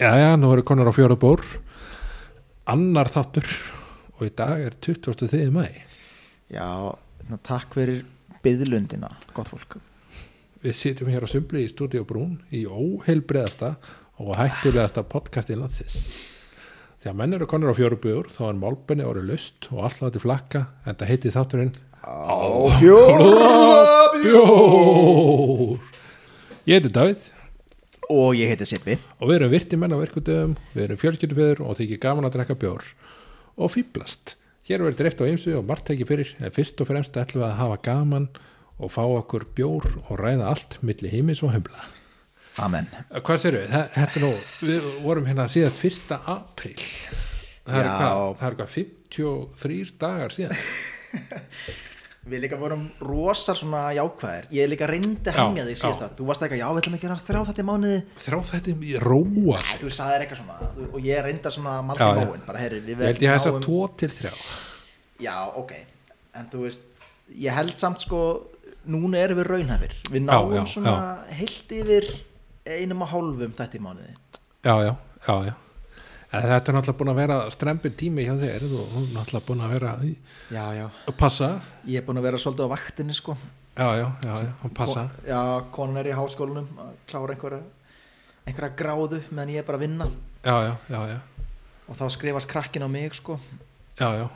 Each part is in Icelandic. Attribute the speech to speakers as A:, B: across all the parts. A: já, já, nú eru konar á fjóra bór annar þáttur og í dag er 23. mæ
B: Já, na, takk fyrir byðlundina, gott fólk
A: við sitjum hér á Sumbli í Stúdíu Brún í óheilbreðasta og hættulegasta podcasti landsins þegar menn eru konar á fjóra bór þá er málbenni orðið lust og alltaf til flakka en það heiti þátturinn
B: Á fjóra
A: Bjór ég heiti Davíð
B: Og ég heiti Sippi
A: og við erum virti menn á verkudöfum við erum fjölskyldufeður og þykir gaman að drekka bjór og fýblast hér verður dreift á ymsu og margt ekki fyrir en fyrst og fremst ætlum við að hafa gaman og fá okkur bjór og ræða allt milli heimis og heimla
B: Amen
A: Eh, hvað sér við, Þa- þetta er nú við vorum hérna síðast fyrsta april það er
B: Já.
A: hvað, það er hvað 53 dagar síðan
B: Við líka vorum rosar svona jákvæðir Ég líka reyndi að
A: Já,
B: hemja þig síðast
A: já.
B: að Þú varst eitthvað, já, við ætlum að gera þrjá þetta í mánuði
A: þrá þetta í róa
B: Æ, Þú sagðir eitthvað svona þú- Og ég reyndi að svona malda
A: Já, já.
B: móin Bara, heyri, við
A: ég held ég að þessar
B: náum-
A: 2 til 3
B: Já, ok En þú veist, ég held samt sko Núna erum við raunhæfir Við náum
A: já,
B: svona heilt yfir einum og hálfum þetta í mánuði
A: já, já, já, já. En þetta er náttúrulega búin að vera strempin tími hjá þér þú þú er náttúrulega búin að vera í-
B: Já, já
A: að passa
B: Ég er búin að vera svolítið á vaktinni sko
A: já, já, já, já, að passa
B: Ko- Já, konan er í háskólanum að klára einhverja einhverja gráðu meðan ég er bara að vinna
A: já, já, já, já,
B: og þá skrifast krakkin á mig sko
A: já, já.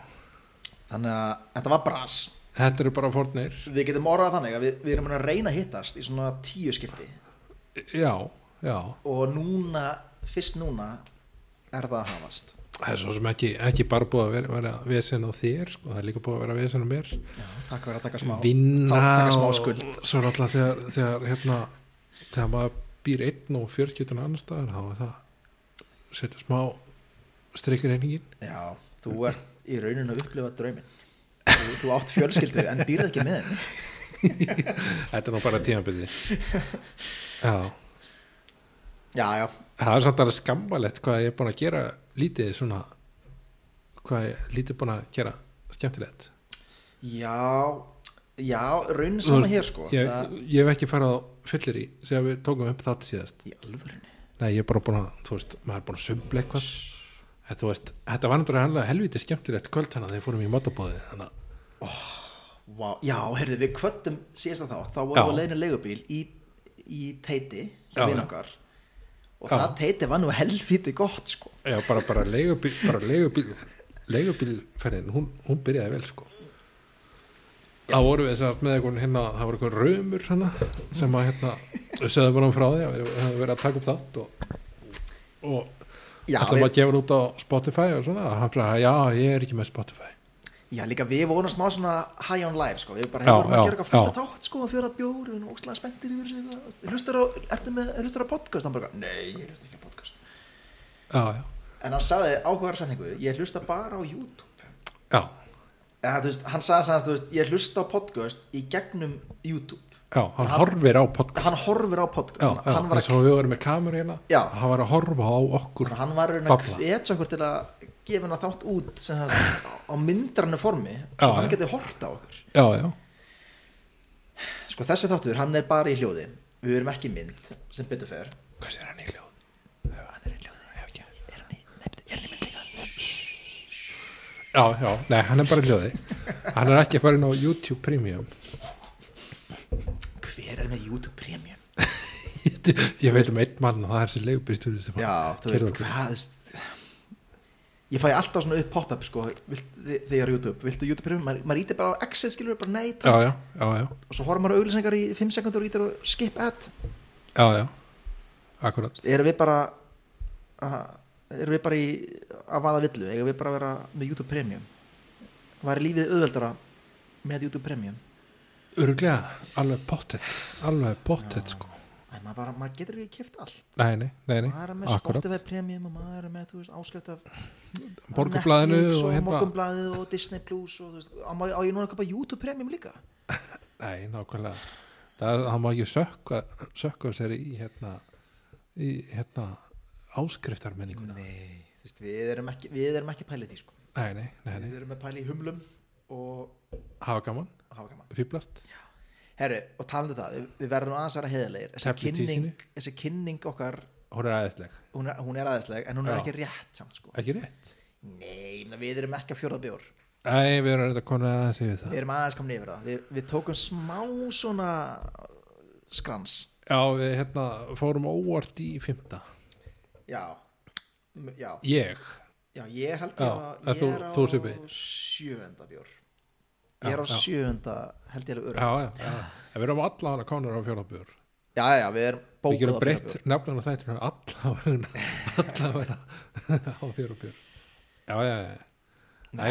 B: þannig að þetta var bras
A: þetta eru bara fornir
B: Við getum orðað þannig að við, við erum að reyna að hittast í svona tíu skipti
A: já, já,
B: og núna, fyrst núna er það að hafast
A: það er svo sem ekki, ekki bara búið að vera, vera vesen á þér sko, það er líka búið að vera vesen á mér
B: já, Takk fyrir að taka smá
A: vinna
B: þá taka smá
A: og-
B: skuld
A: svo er alltaf þegar, þegar hérna, þegar maður býr einn og fjörskiptun annar staðar þá er það setja smá streikur einingin
B: Já, þú ert í rauninu að upplifa drauminn þú, þú átt fjölskyldu en býrð ekki með henni
A: Þetta er nú bara tímabili Já,
B: Já, já,
A: það er samt alveg skammalegt hvað ég er búin að gera lítið svona hvað ég er lítið búin að gera skemmtilegt
B: Já, já, raunin
A: Þú
B: sama
A: veist,
B: hér sko
A: ég,
B: Það-
A: ég hef ekki farið á fyllir í sem við tókum upp þátt síðast
B: Í alvörinu
A: Nei, ég er bara búin að, þú veist, maður er búin að sumbla eitthvað En þú veist, þetta var náttúrulega helviti skemmtilegt kvöld þannig að þegar við fórum í matabóði þannig að,
B: Vá, Já, heyrðu, við kvöttum síðast að þá Þá
A: Já.
B: vorum við leiðinu leigubíl í, í teiti
A: Já,
B: hjá vinn
A: já.
B: okkar Og
A: Já.
B: það teiti var nú helfíti gott sko
A: já, bara, bara leigubíl bara leigubíl, leigubílferðin hún, hún byrjaði vel, sko þá vorum við sem sagt með einhvern hérna, það voru einhvern raumur hérna, sem að hérna, við sögðum bara um frá því að við hefum verið að taka upp þátt og, og
B: Já,
A: ætlum að
B: við,
A: gefa hann út á Spotify og svona, og hann bara, já, ég er ekki með Spotify
B: já, líka við vorum smá svona high on life sko Við bara
A: Já,
B: hefum að
A: já,
B: gera eitthvað fyrsta
A: já.
B: þátt sko Fjóra bjór, við erum ókslega spenntir yfir sig Hlustar á, ertu með, hlustar á podcast? Hann bara, nei, ég hlusta ekki á podcast
A: já, já,
B: En hann sagði áhugaðar setningu Ég hlusta bara á YouTube
A: já,
B: Ja, þú veist, hann sagði sagðist, þú veist, ég hlusta á podcast í gegnum YouTube
A: já hann horfir á podcast
B: hann horfir á podcast
A: já,
B: hann,
A: já,
B: hann var
A: eins og við vorum með kameru hérna
B: Já.
A: hann var að horfa á okkur
B: að hann var raun að
A: Babla.
B: hvetja okkur til að gefa hann þátt út sem hans, á myndrannu formi svo
A: Já,
B: hann
A: já.
B: geti hort á okkur
A: já, já,
B: sko þessi þáttur, hann er bara í hljóði við erum ekki í mynd sem betur fer
A: hvað sér hann í hljóð?
B: hann er í hljóði er hann í, nei, er hann í mynd líka
A: já, já, nei, hann er bara í hljóði hann er ekki að fara inn á YouTube Premium
B: hver er með YouTube Premium
A: ég veit um einn mann og það er þessi leigubýrstur sem
B: já, þú veist, hvað þú veist, ég fæ alltaf svona upp pop-up sko, vilt, þi- þegar YouTube, viltu YouTube Premium maður, maður ítir bara á exit, skilur bara nei takk.
A: já, já, já, já
B: og svo horfum maður á auglýsingar í 5 sekundur og ítir og skip ad
A: já, já, akkurat
B: erum við bara að- erum við bara í að vaða villu, eigum við bara að vera með YouTube Premium var lífið auðveldara með YouTube Premium
A: öruglega, alveg pottet alveg pottet sko
B: Æ, maður, bara, maður getur ekki kipt allt
A: nei, nei, nei, nei,
B: maður er með
A: akkurat
B: Spotify Premium og maður er með þú veist, áskjöft af
A: borgarblaðinu
B: Netflix
A: og
B: og
A: hérna
B: morgunblaðið og Disney Plus og, þú veist, á, má- á ég núna að köpa YouTube Premium líka
A: nei, nákvæmlega það, það má ekki sökka sökka sér í hérna í hérna áskriftarmenninguna nei,
B: nei, þú veist, við erum ekki við erum ekki pælið því sko
A: nei, nei, nei,
B: við erum með pælið í humlum og
A: hafa gaman
B: hafa gaman
A: fýblast,
B: Herru, og talandi um það, við, við verðum aðeins að vera heðilegir þessi
A: Tefli
B: kynning,
A: tíkinni.
B: þessi kynning okkar
A: hún er aðeinsleg,
B: hún er, hún er aðeinsleg en hún er
A: Já.
B: ekki rétt samt sko
A: ekki rétt
B: nei, ég meina, við erum ekki að fjóra bjór
A: Æ, við erum reynda konar að segja það
B: við erum aðeins komin yfir það við, við tókum smá svona uh, skrans
A: Já, við hérna fórum óvart í fymta
B: já, M- já,
A: Ég,
B: já ég held
A: Já,
B: ég, að-
A: en
B: ég
A: þú-
B: er á
A: þú Sibbi.
B: sjöunda bjór
A: Já,
B: ég er á
A: já.
B: sjöunda held ég er öru já.
A: já, já, já.
B: Ah.
A: En Við erum allan að konar á fjólabjör
B: já, já, við erum
A: Við
B: bókuð
A: gerum
B: á
A: breytt
B: fjórabjór
A: nefnum þættinu allan að vera á fjólabjör Já, já, já
B: Nei,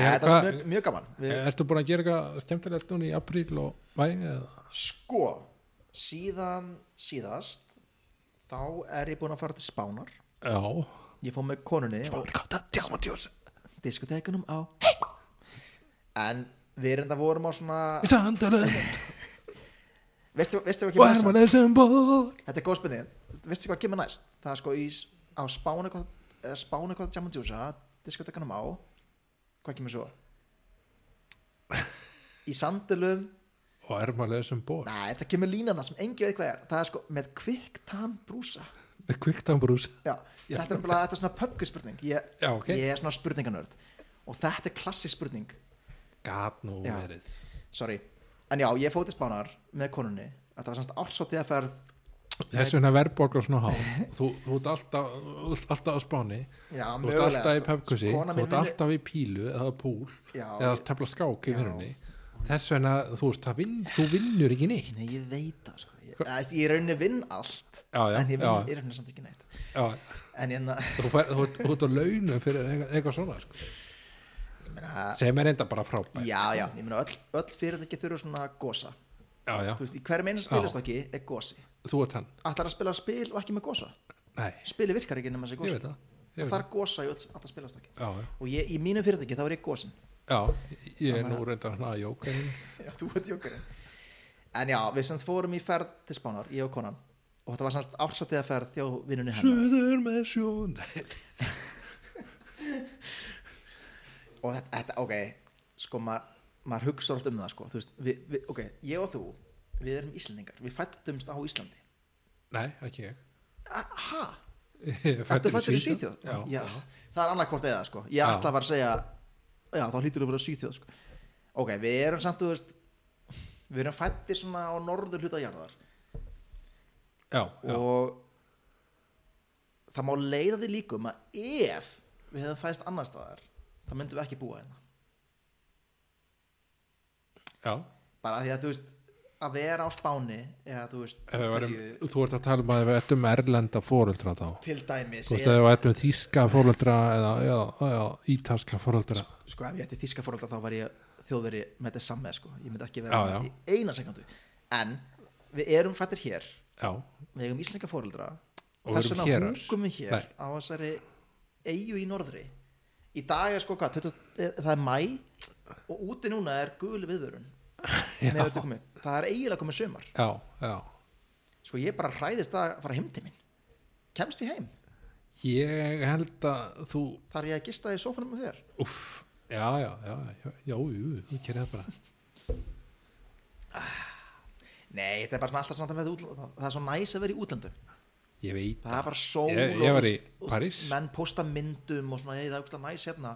A: Nei,
B: þetta
A: hvað-
B: er mjög, mjög gaman við,
A: Ertu búin að gera eitthvað skemmtilegt núna í apríl og væg eða?
B: sko, síðan síðast þá er ég búin að fara til Spánar
A: Já
B: ég fór með konunni og-
A: Bálkáta, djámatjós
B: diskotekunum á en við erum það vorum á svona
A: Í sandalu
B: veistu, veistu hvað
A: og
B: kemur næst
A: hermann eða bór
B: þetta er góð spurning, veistu hvað kemur næst það er sko í, s- á spánu eitthvað- eða spánu eitthvað Jam and Juice diskotekunum á hvað kemur svo í sandulum
A: Og hermann eða bór
B: næ, þetta kemur línan það sem engi veit hvað er það er sko með kviktan brúsa
A: Með kviktambrús
B: Já, þetta er bara þetta er svona pöpkuspurning ég,
A: Já, ok.
B: ég er svona spurninganörd og þetta er klassisk spurning
A: Gat nú
B: Já.
A: verið
B: sorry en já, ég fótið spánar með konunni þetta var semst ársóttið að ferð
A: Þess vegna verðbólgar svona há Þú, þú ert alltaf, þú ert alltaf á spáni
B: já,
A: Þú ert alltaf í
B: sko.
A: pöpkusi,
B: Kona
A: þú
B: mín
A: ert
B: vinnur-
A: alltaf í pílu eða púl
B: Já,
A: eða
B: ég-
A: tefla skák í
B: Já.
A: vinnunni Þess vegna, þú veist, það vinn, þú vinnur ekki neitt
B: nei, ég veit það sko. ég, eða, veist, ég raunin vinn allt
A: Já, já,
B: en ég vinn,
A: já.
B: ég raunin samt ekki neitt
A: Já,
B: en hérna, ég, na-
A: þú fær, þú ert- þú ert á launum fyrir eitthvað, eitthvað svona sko.
B: ég meina
A: sem er enda bara frábært
B: já, já, ég meina öll, öll fyrirtæki þurfa svona gosa
A: já, já.
B: þú veist, í hverjum einu spilastokki er gosi
A: þú ert hann
B: allar að spila spil og ekki með gosa
A: Nei,
B: spili virkar ekki nema þessi
A: ég
B: gosa
A: veit það, ég
B: Sko, það
A: veit það.
B: þarf gosa í öll, allar spilastokki
A: Já, já.
B: og ég, í mínum fyrirtæki þá er ég gosin
A: já, ég er nú reyndar hann að jóka hérna.
B: Já, þú ert jókurinn En já, við semst fórum í ferð til Spánar, ég og konan Og þetta var semst ársáttiða ferð þjó vinnunni hennar
A: Suður með sjón Nei,
B: Og þetta, þetta ok, sko maður maður hugsa oft um það sko Þú veist, við, við, ok, ég og þú, við erum Íslendingar Við fættumst á Íslandi
A: Nei, ekki ég
B: A- Ha?
A: Ég er
B: Ertu
A: fæddur
B: fættur í Svíþjóð?
A: Já, já.
B: það er annarkvort eða sko Ég
A: Já.
B: ætla að var að segja, já, þá hlýtur þú að vera Svíþjóð sko Ok, við erum samt, þú veist Við erum fættir svona á norður hluta jarðar
A: já, já.
B: og það má leiða því líkum að ef við hefðum fæðist annar staðar þá myndum við ekki búa hérna
A: já.
B: bara af því að þú veist að vera á Spáni eða þú veist
A: Ef við Varum,
B: Ítalíu
A: þú ert að tala um að við ættum erlenda fóreldra þá
B: til dæmis
A: Þú veist
B: eða,
A: að við ættum þíska fóreldra eða, eða, eða ítaska fóreldra
B: sko ef ég ætti þíska fórhalda þá var ég þjóðveri með þetta samme sko ég myndi ekki vera
A: Já, já.
B: í eina sekundu en við erum fættir hér
A: Já,
B: við eigum íslenska fórhalda og,
A: Og
B: þess
A: erum
B: vegna
A: hérar.
B: húkum við hér
A: Nei.
B: á þessari eigu í norðri í dag er sko hvað 20, eh, það er mæ og úti núna er gul viðvörun með öllu komið. það er eiginlega komið sömar
A: já, já
B: sko ég bara hræðist það að fara heim til mín kemst ég heim,
A: Ég held að þú
B: þar ég að gista í sófanum með þér
A: Úff, já, já, já Já, já, jú, þú gerir það bara
B: nei, þetta er bara svona alltaf svona það, með útl- það er svo næs að vera í útlöndum
A: Ég veit
B: það er bara sól
A: Ég-
B: og
A: ég var
B: þú
A: í
B: veist, og
A: París.
B: menn posta myndum og svona, ég, það er ógeðslega næs hérna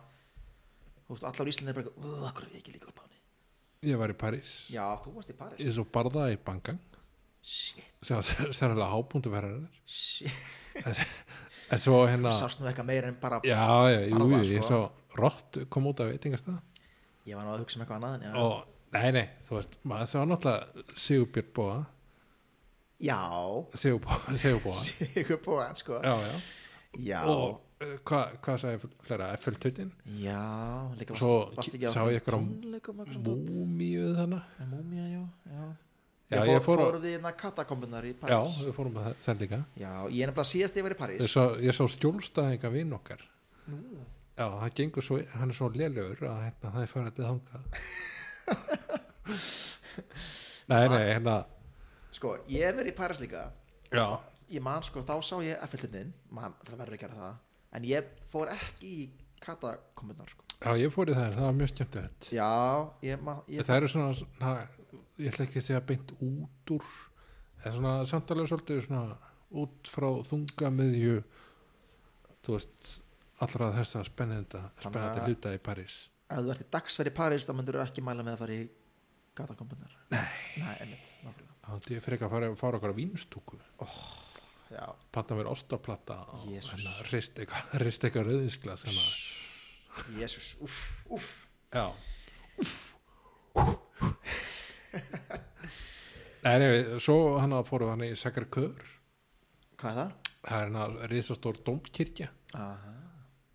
B: Þú veist, allar í Íslandi er bara eitthvað, "Ugh, af hverju er ég ekki líka á báni
A: Ég var í París
B: já, þú varst í Paris
A: Ég svo barða í bankan
B: shit
A: sem sérlega hábúndu verðarinnar
B: Shit,
A: En svo hérna
B: sást nú eitthvað meira en bara
A: Já, já, jú,
B: Barða,
A: ég
B: sko.
A: svo Rott kom út af veitingastæða
B: Ég var nú að hugsa um eitthvað annað en já.
A: og Nei, nei, þú veist, maður svo náttúrulega Sigurbjörn Bóa
B: já,
A: Sigurbóa, Sigurbóa
B: sigur búan sko
A: Já, já
B: Já,
A: og uh, hvað hva sagði flera FL-tutin
B: já líka
A: Svo
B: varst, varst ekki á
A: sá ég eitthvað á
B: tónleikum eitthvað svona dót?
A: múmíuð þannig
B: En Múmía, já, já
A: Já,
B: Ég
A: ég fór
B: fór,
A: á-
B: fór því innan katakombunar í
A: já,
B: París Já,
A: við fórum að það- það líka
B: ég er nefnilega síðast ég var í
A: ég
B: París
A: sá, ég sá skjólstæðinga vinn okkar já, það gengur svo hann er svo lélugur að hérna, það er farið til þangað nei, nei, hérna
B: Sko, ég hef verið í París líka
A: já,
B: Ég man, sko, þá sá ég Eiffeltindin Man, það verður ekki að gera það En ég fór ekki í katakombunar sko.
A: já, ég fór í það það var mjög skemmtilegt
B: Já, ég, man, ég
A: það eru svona, na, ég ætla ekki að segja beint út úr það er svona samtalið svolítið svona út frá þunga miðju þú veist allra þessa spennenda
B: Þannig
A: spennandi
B: að-
A: hluta í París
B: ef þú ert í dagsferð í París þá myndur þú ekki mæla með að fara í gatakombunar nei, nei einmitt, nákvæmlega.
A: þá ætti ég frekar að fara, fara okkar á vínstúku
B: já,
A: panna mér ostaplata og
B: Jesús.
A: hérna, rist eitthvað rist eitthvað rauðinsglas hérna.
B: jésus, uff, uff
A: já Nei, nei, svo hann að fóru hann í Sakarkör
B: hvað er það?
A: það er hann að risastór domkirkja
B: Aha.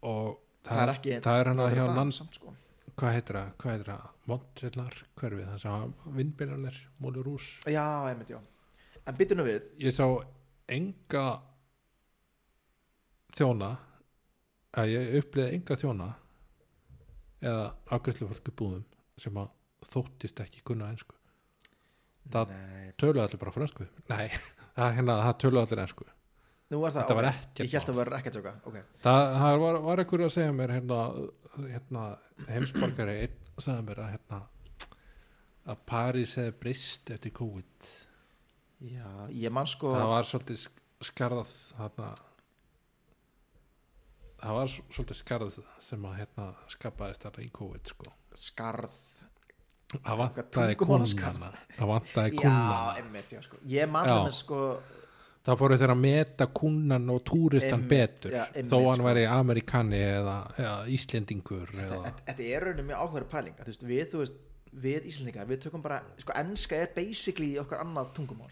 A: og
B: það er ekki
A: það er hann að Hérna hjá
B: Notre Dame
A: lands
B: samt, sko.
A: hvað heitir það, hvað heitir það Montrenar, hverfið, þannig að vindbyrjanir, Mólurús
B: já, einmitt, já en byttu nú við,
A: ég sá enga þjóna að ég upplýði enga þjóna eða afgjörslu fólki búðum sem að þóttist ekki kunna einsku Það-
B: nei,
A: töluðu allir bara fransku nei, það, hérna, það töluðu allir einsku
B: nú var það
A: þetta var
B: ok.
A: ekkert
B: ég held
A: mál.
B: að vera ekki að tjóka okay.
A: það, það var, var ekkur að segja mér hérna, hérna heimsborgari einn sagði mér að hérna að París hefði breyst eftir COVID
B: já, ég man sko
A: það var svolítið sk- skarð hérna það var s- svolítið skarð sem að hérna skapaðist þarna í COVID sko
B: skarð
A: það vantaði
B: tungumálaskarð.
A: kunnana það vantaði
B: já,
A: kunnana
B: einmitt, já, sko ég man
A: Já.
B: það með sko
A: það fóru þeir að meta kunnan og túristan
B: Einmitt,
A: betur
B: já, einmitt,
A: þó hann
B: sko.
A: væri amerikani eða, eða íslendingur eða,
B: þetta, þetta er rauninni mjög áhverð pæling að, þú veist, við, þú veist, við Íslandingar við tökum bara, sko, enska er basically okkar annað tungumál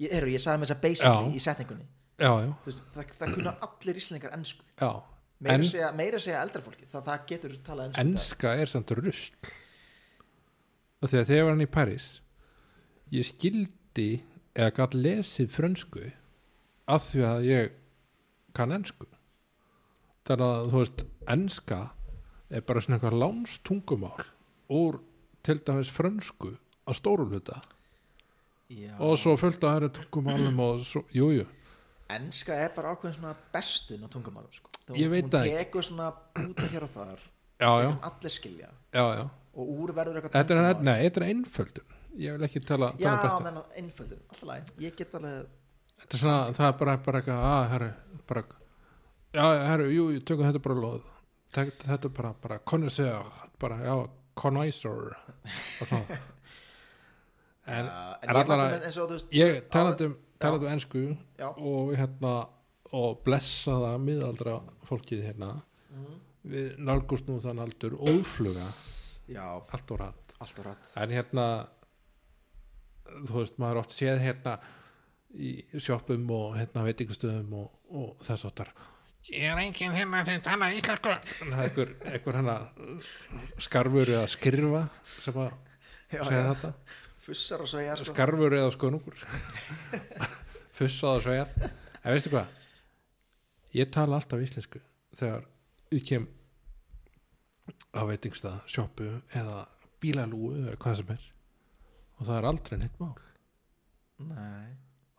B: ég, eru, ég sagði með þess að
A: Já.
B: basically í setningunni
A: já, já,
B: Þú veist, það, það kunna allir Íslandingar ensku
A: já
B: meira,
A: en,
B: segja, meira segja eldra fólki það, það getur talað ensku í dag.
A: enska er samt rusl og þegar þegar ég var hann í París ég skildi eða gætt lesið frönsku af því að ég kann ensku þannig að þú veist enska er bara svona eitthvað lánstungumál úr til dæmis frönsku að stóru hluta
B: Já.
A: og svo fullt að það eru tungumálum og svo, jú, jú,
B: enska er bara ákveðin svona bestun á tungumálum sko. Þú-
A: Ég veit
B: hún
A: það ekki.
B: tekur svona út hér og þar
A: já, já,
B: sem allir skilja
A: já, já
B: og úr verður eitthvað
A: þetta er, hérna
B: tungumál.
A: nei, þetta er einföldun ég vil ekki tala,
B: já,
A: tala bestu
B: menn einföldur, alltaf læg ég get alveg,
A: þetta er svona, það er bara, bara eitthvað að, herru, bara já, herru, jú, jú, tökum þetta bara lóð Tek, þetta er bara, bara, connoisseur bara, já, connoisseur og svona en
B: uh,
A: er
B: en ég
A: allar
B: man
A: að-
B: það eins og þú veist
A: ég talandi um, talandi um ensku
B: já,
A: og hérna og blessaða miðaldra fólkið hérna
B: Mhm.
A: við nálgust nú þann aldur ófluga
B: já,
A: allt og rætt
B: allt og rætt
A: en hérna þú veist maður oft séð hérna í sjoppum og hérna veitingastöðum og, og þess áttar ég er enginn hérna sem tala íslensku En það er einhver, einhver hérna skarfur eða skrifa sem að
B: já,
A: segja
B: já,
A: þetta
B: fussar og segja sko.
A: skarfur eða skönungur fussað og svegar en veistu hvað ég tala alltaf íslensku þegar ég kem á veitingstað, sjoppu eða bílalúu eða hvað sem er og það er aldrei neitt mál
B: nei,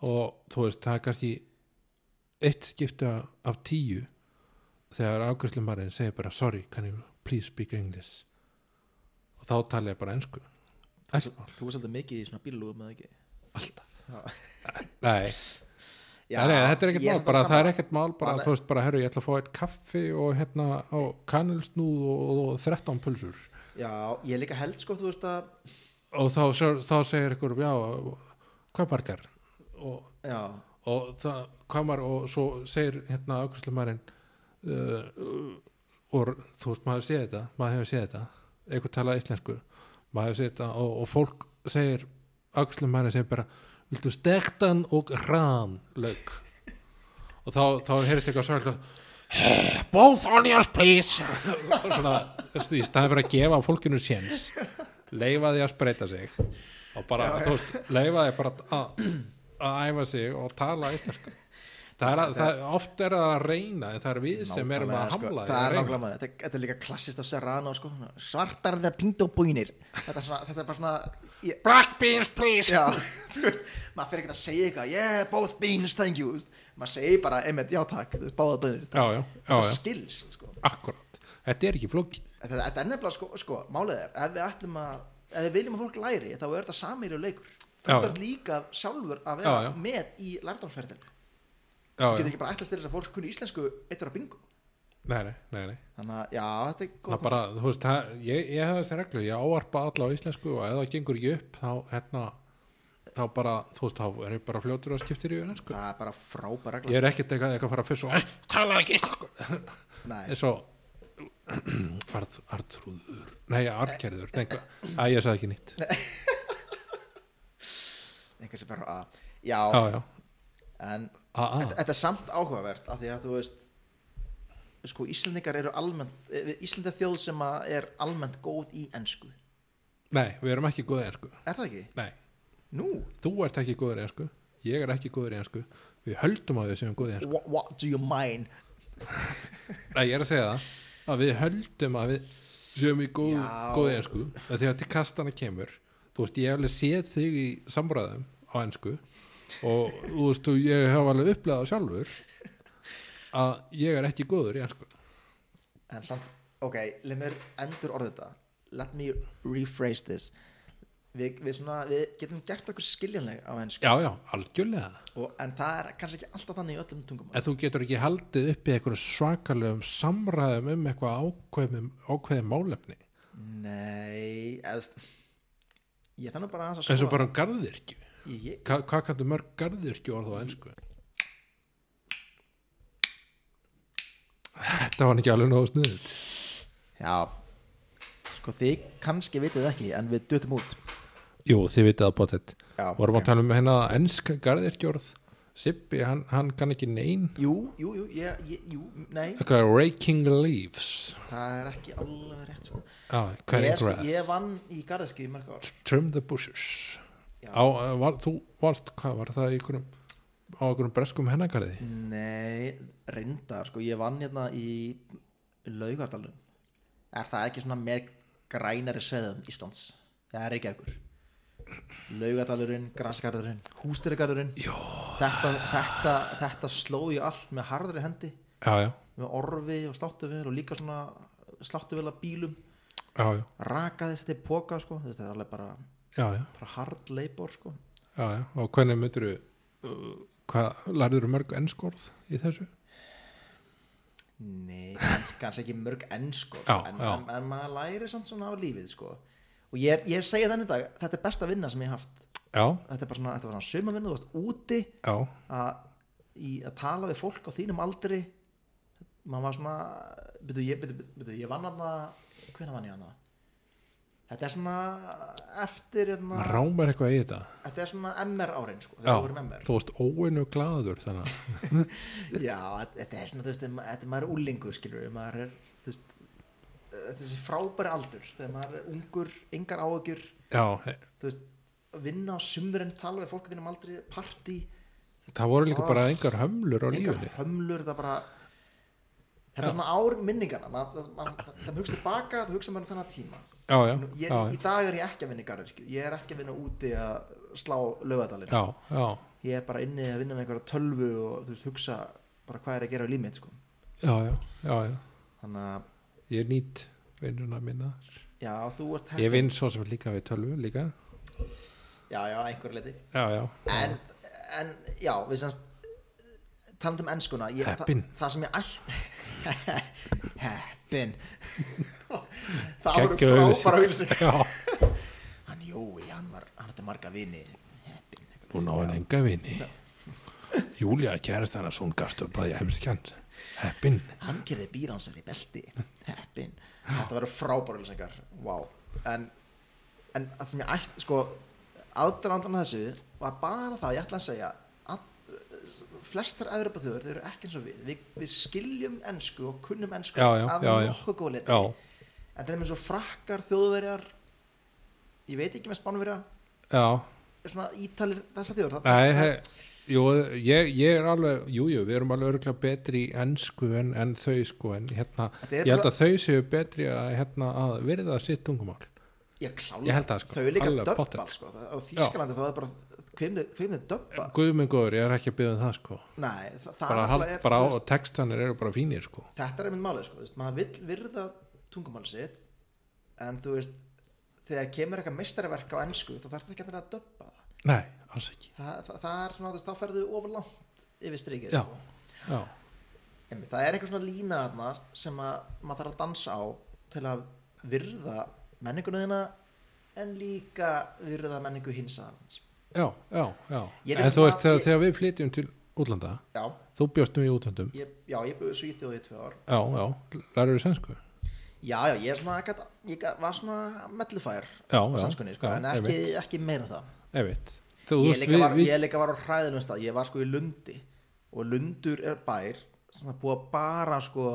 A: og þú veist, það er kannski eitt skipta af tíu þegar afgjörslumarinn segir bara sorry, can you please speak English og þá tala ég bara ensku Ekkert mál,
B: þú er svolítið mikið í svona bílugum eða ekki
A: alltaf nei nei, nei, þetta er ekkert
B: ég
A: mál,
B: samt
A: bara,
B: alveg
A: það er
B: sammála.
A: ekkert mál bara,
B: Bara-
A: þú veist, bara, herru, ég ætla að fá eitt kaffi og hérna, og kanilsnúð og, og, og 13 pulsur
B: já, ég líka held sko, þú veist að
A: og þá, þá, þá segir ykkur, já, hvað margar og,
B: já,
A: og það, hvað margar og svo segir hérna ákvæmstumærin uh, og þú veist, maður séð þetta maður hefur séð þetta, eitthvað talað íslensku maður hefur séð þetta og, og fólk segir, ákvæmstumærin segir bara viltu stektan og rán lög og þá, þá heyrist eitthvað svo eitthvað both onions please Og svona, þessi, í staði fyrir að gefa fólkinu séns leifa því að spreita sig og bara, þú veist, leifa því bara að, að æfa sig og tala íslensku það er að, það, oft er það að reyna en það er við sem erum
B: nákvæmlega,
A: að hamla
B: sko, það er
A: því að
B: nákvæmlega maður, þetta, þetta er líka klassist á Serrano sko, svona, svartar þegar pínt og búinir þetta er, svona, þetta er bara svona ég,
A: black beans please
B: já, þú veist, maður fyrir ekki að segja eitthvað yeah, both beans, thank you þú veist. maður segir bara, einmitt, já takk, þú veist, báða búinir
A: já, já, já,
B: þetta
A: já,
B: skilst sko
A: akkurat þetta er ekki flókin
B: þetta, þetta er nefnilega sko, sko málið er ef við ætlum að ef við viljum að fólk læri þá er þetta samýri leikur þú
A: Já.
B: þarf líka sjálfur að vera
A: Já, já.
B: með í lærdámsferðin þú
A: já,
B: getur
A: já,
B: ekki bara ætlast til þess að fólk kunni íslensku eittur að bingo
A: nei, nei, nei, nei.
B: þannig að já, þetta er
A: það
B: góð
A: bara, þú veist, það, ég, ég hef þessi reglu ég ávarpa alla á íslensku og ef það gengur ekki upp þá, hérna þá bara, þú veist, þá er ég bara fljótur að skiptir í öðrensku,
B: það er bara frábær regla
A: ég er ekkert eitthvað, eitthvað að fara fyrst og "Æ, talar ekki íslensku
B: Nei,
A: eins og Art, Artrúður, nei, Artgerður nei, hvað- Æ, ég sagði ekki nýtt
B: einhvers er bara að já,
A: já, já, Ah,
B: en
A: a, a,
B: þetta, þetta er samt áhugavert af því að þú veist sko, Íslendingar eru almennt Íslenda þjóð sem að er almennt góð í ensku,
A: nei, við erum ekki góðið einsku
B: er það ekki?
A: nei,
B: Nú,
A: þú ert ekki góður í einsku ég er ekki góður í einsku við höldum að við séum góðið einsku
B: what, what do you mind?
A: nei, ég er að segja það að við höldum að við séum í góð,
B: Já.
A: góðið einsku þegar til kastana kemur þú veist, ég hef alveg séð þig í samræðum á einsku og þú veist, og ég hef alveg upplegað það sjálfur að ég er ekki góður í einsku
B: En samt, ok, leið mér endur orðið þetta Let me rephrase this Við, við, svona, við getum gert okkur skiljanleg á ensku
A: já, já, algjörlega
B: og, En það er kannski ekki alltaf þannig í öllum tungumál
A: En þú getur ekki haldið upp í einhverju svakalegum samræðum um eitthvað ákveðum, ákveðum málefni
B: Nei, eðst Ég þannig bara aðeins að
A: eins og
B: skoða
A: bara um garðirkju
B: Ég,
A: Hva, hvað kanntu mörg garðirkju orð á ennsku? Þetta var ekki alveg nógu sniðut
B: Já Sko þið kannski vitið ekki en við dutum út
A: Jú, þið vitið að bótt þetta
B: Já,
A: Vorum
B: ok.
A: að tala um hérna ennsk garðirkju orð Sippi, hann, hann kann ekki nein
B: Jú, jú, jú, ég, ég, jú, nei
A: Eitthvað raking leaves
B: Það er ekki alveg rétt sko
A: ah,
B: Ég,
A: Cutting
B: sko, ég
A: grass
B: vann í garðiski í mörg ár
A: Trim the bushes
B: Já.
A: á, eh, var, Þú varst, hvað var það í einhverjum á einhverjum breskum hennagarði
B: Nei, reyndar sko Ég vann hérna í Laugardalum Er það ekki svona með grænari sveðum Íslands? Það er ekki ekkur Laugardalurinn, Grasgarðurinn, Hústyrgarðurinn þetta, þetta, þetta sló ég allt með harðri hendi
A: já, já,
B: með orfi og sláttuvel og líka svona sláttuvel að bílum
A: já, já,
B: rakaði þetta í póka sko. þetta er alveg bara,
A: já, já,
B: bara hard labor sko.
A: já, já. og hvernig myndir hvað, lærður mörg ennskorð í þessu?
B: nei, kannski, kannski ekki mörg enn sko,
A: Já,
B: en,
A: já.
B: En, en maður læri samt svona á lífið sko. og ég, er- ég segja þannig í dag þetta er besta vinna sem ég hef haft
A: Já,
B: þetta er bara svona, þetta var svona sumavinna, þú varst úti
A: já,
B: að, í, að tala við fólk á þínum aldri maður var svona byrju, ég, byrju, byrju, ég vann hana hvenær vann ég hana þetta er svona eftir hérna,
A: maður rámar eitthvað í þetta
B: þetta er svona MR árin sko,
A: Já,
B: þegar við vorum MR
A: þú varst óinu glaður þannig að-
B: já, þetta er svona, þú veist, ma- þetta er maður er úlingur skilur, maður er þú veist, eh, þetta er þessi frábæri aldur þegar maður er ungur, engar áökjur
A: Já, eh,
B: þú veist, vinna á sumurinn tala við fólk á þínum aldri, partí
A: það voru líka
B: Ó.
A: bara engar hömlur á
B: engar
A: lífinni
B: hömlur það bara þetta er svona ár minningana ma, það, ma, það, það hugsa tilbaka, það hugsa maður þannig tíma
A: Já, já,
B: Nú, ég,
A: já,
B: í dag er ég ekki að vinna í garðirkju ég er ekki að vinna úti að slá lögadalinn
A: já, já,
B: ég er bara inni að vinna með einhverja tölvu og þú veist, hugsa bara hvað er að gera í límið sko.
A: já, já, já, já.
B: þannig að,
A: ég nýtt vinnuna minna
B: já, þú ert
A: ég vinn svo sem líka við tölvu líka
B: já, já, einhverju leiti
A: já, já, já,
B: en, en, já, við semst talandi um ennskuna ég, það-
A: Heppin.
B: það sem ég ætti heppin það voru
A: Geggjuð auglýsing.
B: frábæra auðlýsing
A: já.
B: hann Jói, hann var, hann hætti marga vini heppin
A: Hún á hann enga vini Júlia kærast hann að svo hún gafst upp að ég heimski hann Heppin
B: hann gerði býransar í belti heppin, þetta verður frábárulsengar wow, en en það sem ég ætti, sko aðdrarandan að þessu var bara það ég ætla að segja að, eh, flestar Evropa þjóður, þau eru ekki eins og við við, við skiljum ensku og kunnum ensku
A: Já, já,
B: að
A: já, já.
B: nokkuð góð liti
A: Já,
B: en það er með svo frakkar þjóðverjar ég veit ekki með spánverja
A: já
B: svona ítalir þessar þjóður það-
A: Nei,
B: það-
A: he, jú, ég, ég er alveg Jú, jú, við erum alveg örgulega betri í ennsku en, en þau sko en hérna,
B: Þetta er
A: ég held að þau séu betri að, hérna, að virða sitt tungumál
B: Ég klála,
A: Ég held það, sko.
B: þau er líka
A: Alveg
B: döbbað
A: pottet.
B: sko. Það- á Þýskalandi þá er bara hvimni döbba
A: Guðminn góður, ég er ekki að byggja um það sko
B: Nei, það, það
A: bara, hald,
B: nefnilega er,
A: bara á
B: þú veist,
A: og textanir eru bara fínir sko
B: þetta er einmitt málið sko. þú veist, maður vill virða tungumáli sitt en þú veist þegar kemur eitthvað meistarverk á ennsku þá þarf þetta ekki endilega að döbba það
A: nei, alls ekki
B: það, það, það er svona, þú veist, þá ferðu ofurlangt yfir strikið
A: Já.
B: sko.
A: já,
B: Einmitt, það er eitthvað svona lína þarna sem að maður þarf að dansa á til að virða menninguna þína en líka virða menningu hins aðeins
A: já, já, já.
B: Ég er
A: en
B: ekki
A: þú
B: bara-
A: veist, þegar,
B: ég-
A: þegar við flytjum til útlanda,
B: já,
A: þú bjóst nú í útlandum
B: ég, já, ég búið svíþjóði í tvö ár
A: já, já, lærur við sænsku
B: já, já, ég, er svona, gat, ég gat, var svona mellufær
A: já, já,
B: sannskunni, sko,
A: já,
B: en ekki, ekki meira en það
A: ég veit þú
B: ég,
A: veist,
B: líka
A: við,
B: var,
A: við,
B: ég líka var á hræðinum stað ég var sko í Lundi og Lundur er bær sem það búa bara sko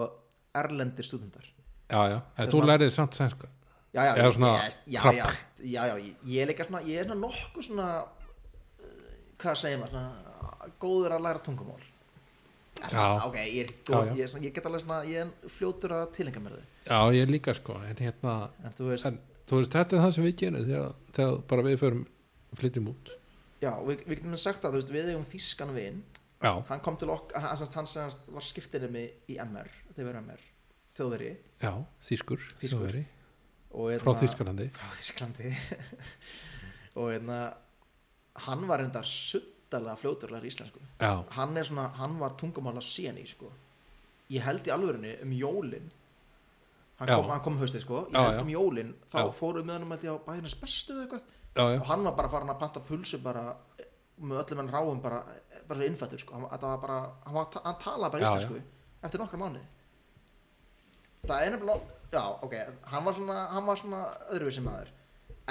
B: erlendir stúdendar
A: já, já, en
B: Þetta
A: þú
B: var-
A: lærið samt sænsku
B: já, já,
A: Eða
B: ég-
A: svona
B: ég- já,
A: krabb.
B: já, já, já, ég- ég er líka svona ég er svona nokkuð svona uh, hvað segir maður, svona góður að læra tungumál Það er svona,
A: Já.
B: ok, ég er,
A: Já,
B: góð,
A: já.
B: Ég, er svona, ég get alveg svona ég er fljótur að tilenga mér þau
A: já, ég líka sko, en hérna
B: en þú veist,
A: en, þú veist, þetta er það sem við gerum þegar, þegar bara við förum flytjum út
B: já, við, við getum sagt að þú veist, við eigum þýskan vin
A: já,
B: hann kom til okk, hann, hann, hann, hann var skiptinni í MR, þegar við erum MR þjóðveri
A: já, þýskur
B: Þýskur.
A: Þjóðverji,
B: og
A: frá
B: hérna-
A: Þýskalandi
B: frá Þísklandi og hérna hann var enda suttalega fljóturlega í íslensku
A: já,
B: hann er svona, hann var tungumála síni sko. ég held í alvörunni um jólin hann
A: Já.
B: kom, hann kom haustið sko ég
A: Já,
B: held
A: já.
B: um jólin, þá
A: Já.
B: fórum við hann held ég á bæðinans bestu eða eitthvað
A: já, já,
B: og hann var bara farin að panta pulsu bara eh, með öllum hann ráum bara, eh, bara innfættur sko, hann, þetta var bara, hann, var, ta- hann talaði bara
A: Já,
B: íslensku eftir nokkra mánuði það er nefnilega já, ok, hann var svona, hann var svona öðruvísi maður,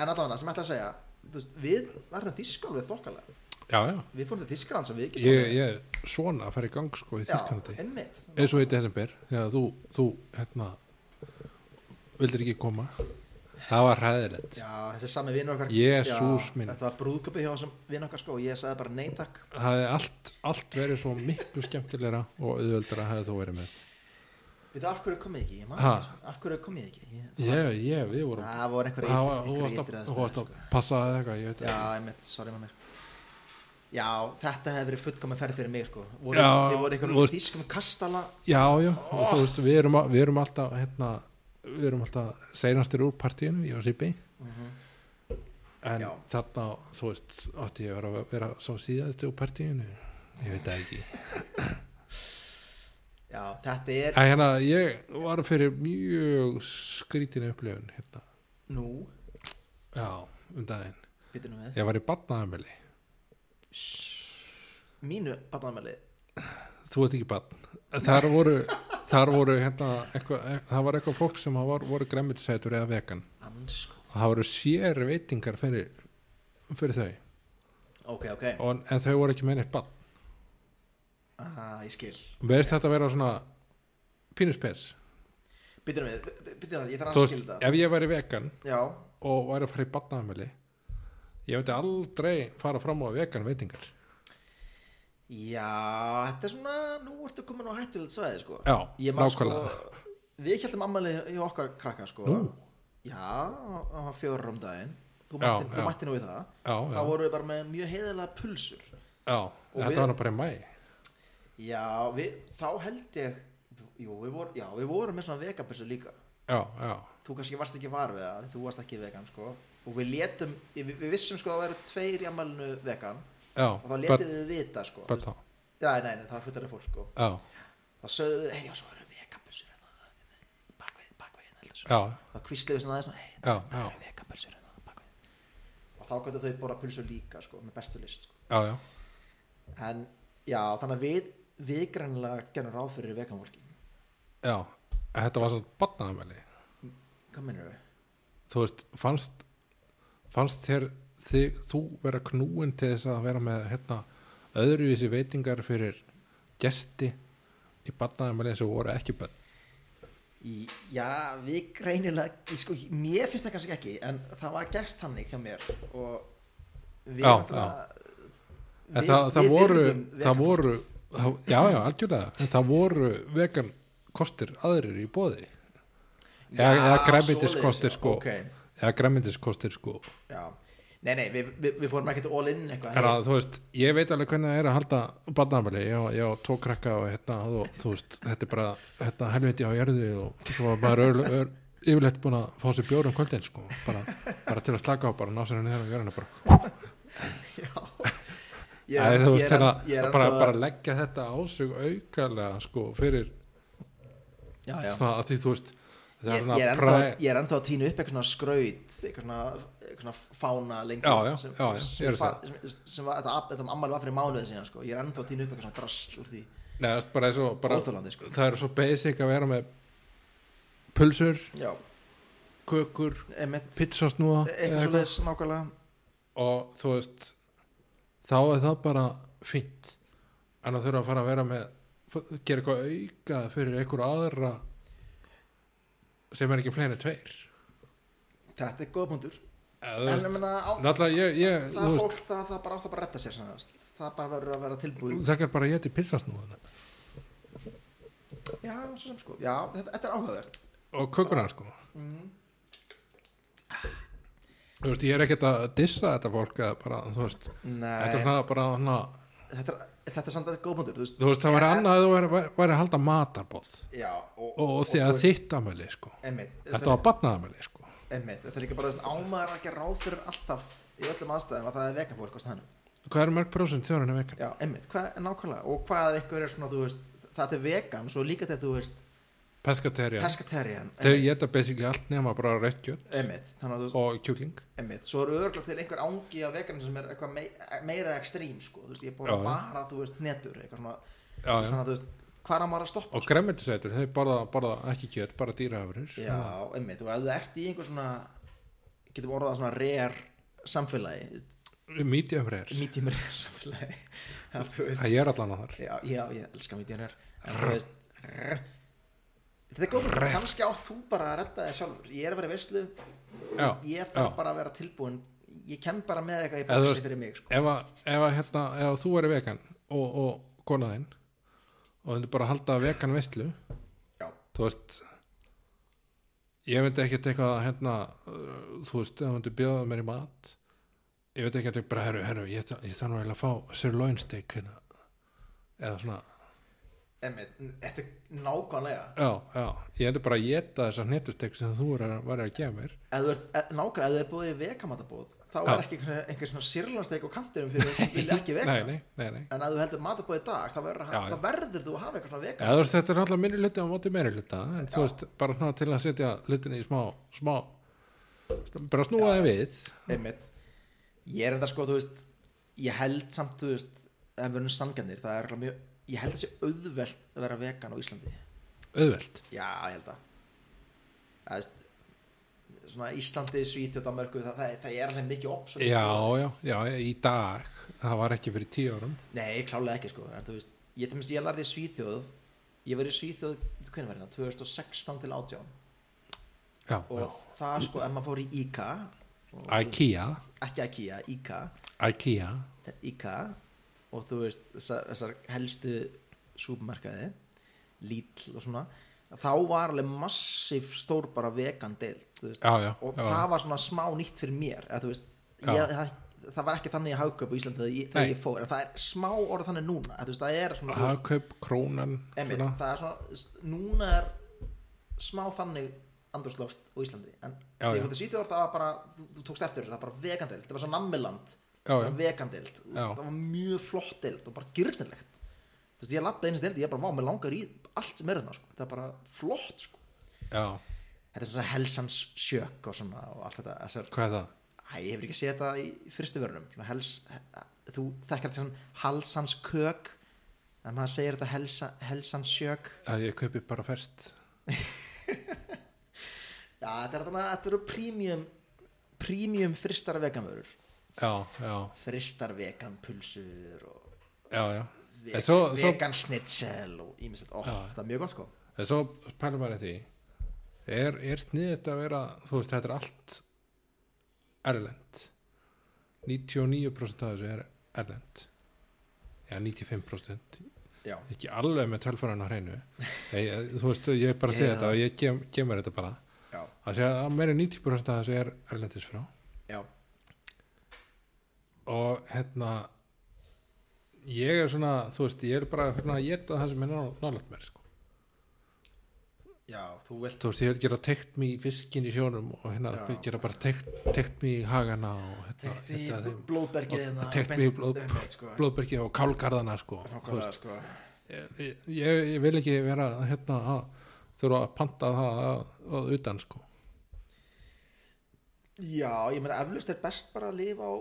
B: en allavega sem ég ætla að segja, þú veist, við verðum þýskal við þokkalega,
A: já, já
B: við fórum til Þýskaland sem við getum
A: ég, ég er svona að fara í gang sko í Þýskalandi
B: já, einmitt,
A: eins og í desember þegar þú, þú hérna vildir ekki koma það var hræðilegt
B: já, þessi sami vinur okkar
A: Jesús
B: Já,
A: minn.
B: þetta var brúðköpi hjá þessum vinur okkar sko, og ég sagði bara neytak
A: það hefði allt, allt verið svo miklu skemmtilegra og auðveldara hefði þú verið með
B: við það af hverju komið ekki, ég man
A: Ha.
B: ekki, sko. af hverju komið ekki ég,
A: ég, ég, við vorum
B: það voru einhverja
A: það
B: ytri-
A: var, þú varst að,
B: einhverjar ytri aðstæður,
A: þú varst
B: sko.
A: að passa eða eitthvað, ég veit
B: Já,
A: ekki
B: einmitt, sorry maður Já, þetta hefði verið fullkomin ferð fyrir mig sko voru,
A: Já,
B: Þið voru
A: þú
B: einhverjum
A: veist-
B: þýskum kastala
A: já, já, og þú veist, við erum, að- við erum alltaf hérna, við erum alltaf seinastir úr partíinu, ég og Sipi Mhm. en
B: Já.
A: þarna, þú veist, átti ég að vera, vera sá síðast úr partíinu ég veit það ekki
B: Já, þetta er
A: Æ, hérna, ég var fyrir mjög skrítin upplifun hérna.
B: Nú,
A: Já, um daginn.
B: býtum við
A: Ég var í batnaðamili.
B: Mínu batnaðamæli
A: Þú veit ekki batn. Þar voru, þar voru hérna, eitthva, það var eitthvað fólk sem var, voru gremmitisætur eða vegan.
B: Ansko
A: Og það voru sér veitingar fyrir, fyrir þau.
B: Ok, ok
A: Og, en þau voru ekki með neitt batn.
B: ah, Ég skil
A: Verðist þetta vera svona pínuspes.
B: Býtum við, býtum við, ég þarf
A: Þú
B: að
A: veist,
B: skilja það
A: ef ég væri vegan
B: Já,
A: og væri að fara í batnaðamili, ég myndi aldrei fara fram á vegan veitingar.
B: já, þetta er svona Nú ertu komin á hættulegt svæði sko
A: Já,
B: Ég man sko
A: nákvæmlega.
B: Við heldum ammæli í okkar krakka sko
A: Nú.
B: Já, það var fjórar um daginn Þú
A: Já,
B: mætti, þú
A: já.
B: mætti nú í það
A: Já, já.
B: þá voru við bara með mjög heiðalega pulsur
A: Já, þetta
B: við-
A: var nú bara í mæ
B: já, við, þá held ég jú, við voru, já, við vorum með svona vegapulsur líka
A: Já, já,
B: þú kannski varst ekki var við það, en þú varst ekki vegan sko. og við letum, við, við vissum sko að það væru tveir í ammælinu vegan
A: já
B: og þá
A: but-
B: letið við vita sko.
A: but þá,
B: já, nei, nei, það fullari fólk sko.
A: Já,
B: þá sögðu við, hérna, hei, já, svo eru veganpulsur bakvið, bakvið, heldur svo
A: já,
B: þá kvísluðu svona aðeins, hei,
A: já, já,
B: það eru veganpulsur bakvið hérna, og þá gætu þau borða pulsur líka sko, með bestu list sko.
A: já, já
B: en já, þannig að við við greinlega gerum ráð fyrir veganfólki
A: Já, en þetta var svo batnaðamæli
B: hvað minnur við?
A: Þú veist, fannst fannst þér þig, þú vera knúin til þess að vera með hérna, öðruvísi veitingar fyrir gesti í batnaðamæli sem voru ekki bönn
B: Í, já, við greinilega í, sko, mér finnst það kannski ekki en það var gert þannig hjá mér og við
A: Já,
B: náttúrulega-
A: En það, það, voru,
B: virðum
A: það
B: vegan
A: voru
B: fólk.
A: það, Já, já, algjörlega En það voru vegan kostir aðrir í bóði
B: Já,
A: eða- eða grænmetiskostir,
B: svoleiðis,
A: sko.
B: ok,
A: eða græmyndiskostir sko
B: já. nei, nei, við, við, við fórum ekkert all in eitthvað
A: Er að, þú veist, ég veit alveg hvernig það er að halda barnafæli, ég, á- ég á tvo krakka og hérna, þú, þú veist, þetta er bara hérna, helviti á jörðu og svo var bara öll, öll, yfirleitt búin að fá sér bjór um kvöldin, sko, bara, bara til að slaka á, bara ná sér henni þegar á jörðina, bara,
B: já, Ég
A: Æ,
B: er-
A: þú
B: ég
A: veist
B: er-
A: hérna,
B: ég er
A: bara,
B: ennþá-
A: bara leggja þetta á sig aukarlega sko fyrir
B: Já, já.
A: svona að því þú veist það er
B: Ég, ég, er
A: svona
B: ennþá,
A: præ
B: ég er ennþá að tína upp eitthvað svona skraut eitthvað svona, eitthvað svona fána lengi
A: Já, já,
B: sem,
A: já, já, ég er
B: sem,
A: að
B: fa- sem, sem var, þetta, þetta ammali var fyrir mánuði síðan sko. ég er ennþá að tína upp eitthvað svona drasl úr því
A: Nei, það er bara svo, bara,
B: óþjólandi sko.
A: það er svo basic að vera með pulsur,
B: já,
A: kökur
B: emitt
A: pizzasnúða eða
B: eitthvað svo leðis nákvæmlega
A: og þú veist þá er það bara fínt en að þurfa að fara að vera með gera eitthvað auka fyrir einhver aðra sem er ekki fleiri en tveir
B: þetta er góða punktur
A: eða, þú
B: en
A: veist,
B: ég meina, á,
A: náttúrulega ég, ég
B: það
A: þú
B: er
A: veist,
B: fólk það, það bara á það bara að retta sér svona, þú veist. það bara verður að vera tilbúið
A: það er bara að geta pilsasnúðan
B: já, svo sem sko, já, þetta, þetta er áhugavert
A: og kökunar sko
B: mm.
A: þú veist, ég er ekkert að dissa þetta fólk eða bara, þú veist, þetta er
B: nei,
A: svona bara hana,
B: þetta er, þetta er samt að góða punktur þú veist,
A: þú veist, það væri
B: Ég-
A: annað að þú væri, væri- væri að halda matarboð
B: já, og,
A: og, og því
B: þú
A: að
B: veist,
A: þitt amæli sko,
B: einmitt,
A: þetta var batnaðamæli sko
B: Einmitt, þetta er líka bara þess að ámaður að gera ráð fyrir alltaf í öllum aðstæðum að það er vegan fólk á staðnum.
A: hvað eru mörg prósent þjóðurinn er vegan?
B: Já, einmitt, hvað er nákvæmlega og hvað ef einhver er svona, þú veist, það er vegan svo líka þetta, þú veist,
A: Pescaterian
B: pescatarian
A: Þau geta basically allt nema bara rautt kjöt
B: einmitt, þannig að þú veist,
A: og kjúkling
B: einmitt, svo eru örgla til einhver ángi af vegan sem er eitthvað mei, meira ekstrím, sko, þú veist, ég er búin
A: Já,
B: að
A: já.
B: bara, þú veist, netur, eitthvað svona,
A: já, já.
B: þannig að þú veist, hvað er að maður að stoppa?
A: og gremmetisætur, þau borða, borða ekki kjöt bara Ah, dýraafurur
B: Já, einmitt, og ef þú ert í einhver svona, getum orðað það svona rare samfélagi,
A: mítjöfreyr,
B: medium rare samfélagi, að þú veist,
A: það ég er allan að þar
B: já, já, ég elska mídjanur en þú veist rr. þetta er góð, kannski átt þú bara að redda þig sjálfur, ég er að vera í veislu
A: Já,
B: ég þarf
A: já.
B: bara að vera tilbúin ég kem bara með eitthvað í
A: Eða þú
B: bóksi
A: veist-
B: fyrir mig sko.
A: ef, að, ef, að, hérna, ef að þú eru vegan og, og konaðinn og þú bara að halda vegan veistlu
B: já,
A: þú veist ég veit ekki eitthvað að hérna uh, þú veist, ef þú myndir bjóða mér í mat ég veit ekki að bara herru, herru ég, þa- ég þarf nú eiginlega að fá sirloin steak hérna. eða svona
B: emmi, þetta er nákvæmlega
A: Já, já, ég endur bara að geta þessar hnetustek sem þú er, var að gefa mér
B: ef þú ert, e- nákvæmlega, ef þú er búið í vegamatabóð þá
A: Já.
B: er ekki einhver, einhver svona sirlansteik á kantinum fyrir þess að vilja ekki vega
A: Nei, nei, nei, nei
B: en ef þú heldur matabóð í dag þá verður,
A: Já, já.
B: þá verður þú að hafa eitthvað svona vegan
A: Eða, þú veist, Þetta er alltaf minni hluti á móti meiri hluta en þú veist, bara svona til að setja hlutinni í smá, smá bara snúa þeim við
B: einmitt ég er enda sko, þú veist ég held samt, þú veist, ef við erum sanganir það er örugglega mjög, ég held þessi auðvelt að vera vegan á Íslandi
A: auðvelt
B: já, ég held að það veist svona Íslandi, Svíþjóð, Danmarku það, það, það er alveg mikið opp
A: Já, já, já, í dag það var ekki fyrir tíu árum
B: nei, klálega ekki sko, en þú veist ég, tjumst, ég lærði í Svíþjóð ég var í Svíþjóð, hvernig var það, 2016 til 18
A: Já,
B: og
A: já.
B: það sko, ef maður fór í IKA og-
A: IKEA
B: ekki IKEA, IKA
A: IKEA
B: IKA og þú veist þessar, þessar helstu súpmarkaði Lidl og svona þá var alveg massíf stór bara vegan deild þú veist.
A: Já, já,
B: og
A: já,
B: það var svona smá nýtt fyrir mér eða, þú veist,
A: Já.
B: ég, það, það var ekki þannig að hauka upp á Íslandi þegar ég, þegar
A: Nei.
B: ég fór en það er smá orð þannig núna eða, þú veist, það er svona, þú veist,
A: Hagkaup, krónan
B: emitt,
A: svona.
B: það er svona núna er smá þannig andrúsloft á Íslandi en
A: Já, já.
B: þegar ég fór til Svíþjóðar það var bara, þú, þú tókst eftir þessu, það var bara vegan deild það var svo nammiland
A: Já, já,
B: vegandild,
A: Já.
B: það var mjög flott dild og bara gyrnilegt þú veist, ég lappaði einu stildi, ég bara, vá, mér langar í allt sem er þarna, sko, það er bara flott sko.
A: já,
B: þetta er svona helsans sjök og svona og allt þetta, þessar,
A: hvað er það?
B: æ, ég hefur ekki séð þetta í fyrstu vörunum, svona hels he- þú þekkar þetta sem halsans kök en maður segir þetta helsa, helsans sjök
A: Að ég kaupi bara fest
B: já, þetta er þarna, þetta eru premium premium fristar veganvörur
A: Já, já,
B: fristar veganpulsur og
A: já, já En
B: vegan,
A: svo- svo-
B: vegan snitsel og ímislegt, ó,
A: Já.
B: þetta er mjög gott sko
A: En svo pælum maður í því er, er sniðið að vera þú veist, þetta er allt erlend 99% af þessu er erlend já, 95%
B: Já,
A: ekki alveg með tölfæran á hreinu Nei, ég- þú veist, ég er bara að
B: Ég
A: segja
B: er
A: þetta og ég kem- kemur þetta bara
B: já,
A: að segja að meira en 90% af þessu er erlendis frá
B: já,
A: og hérna ég er svona, þú veist, ég er bara hérna, ég er það sem er nálægt mér sko.
B: já, þú vilt
A: þú veist, ég vil gera tekt mig í fiskin í sjónum og hérna
B: Já.
A: gera bara tekt, tekt mig í hagana og hérna,
B: tekt í
A: hérna þeim
B: blóðbergið hérna,
A: tekt
B: beint-
A: mig í blóð-
B: einmitt, sko.
A: blóðbergi og kálgarðana sko, þú
B: Nákvæmlega,
A: veist,
B: sko.
A: ég, ég ég vil ekki vera hérna að þurfa að panta það að, að utan sko
B: já, ég meina eflust er best bara að lifa á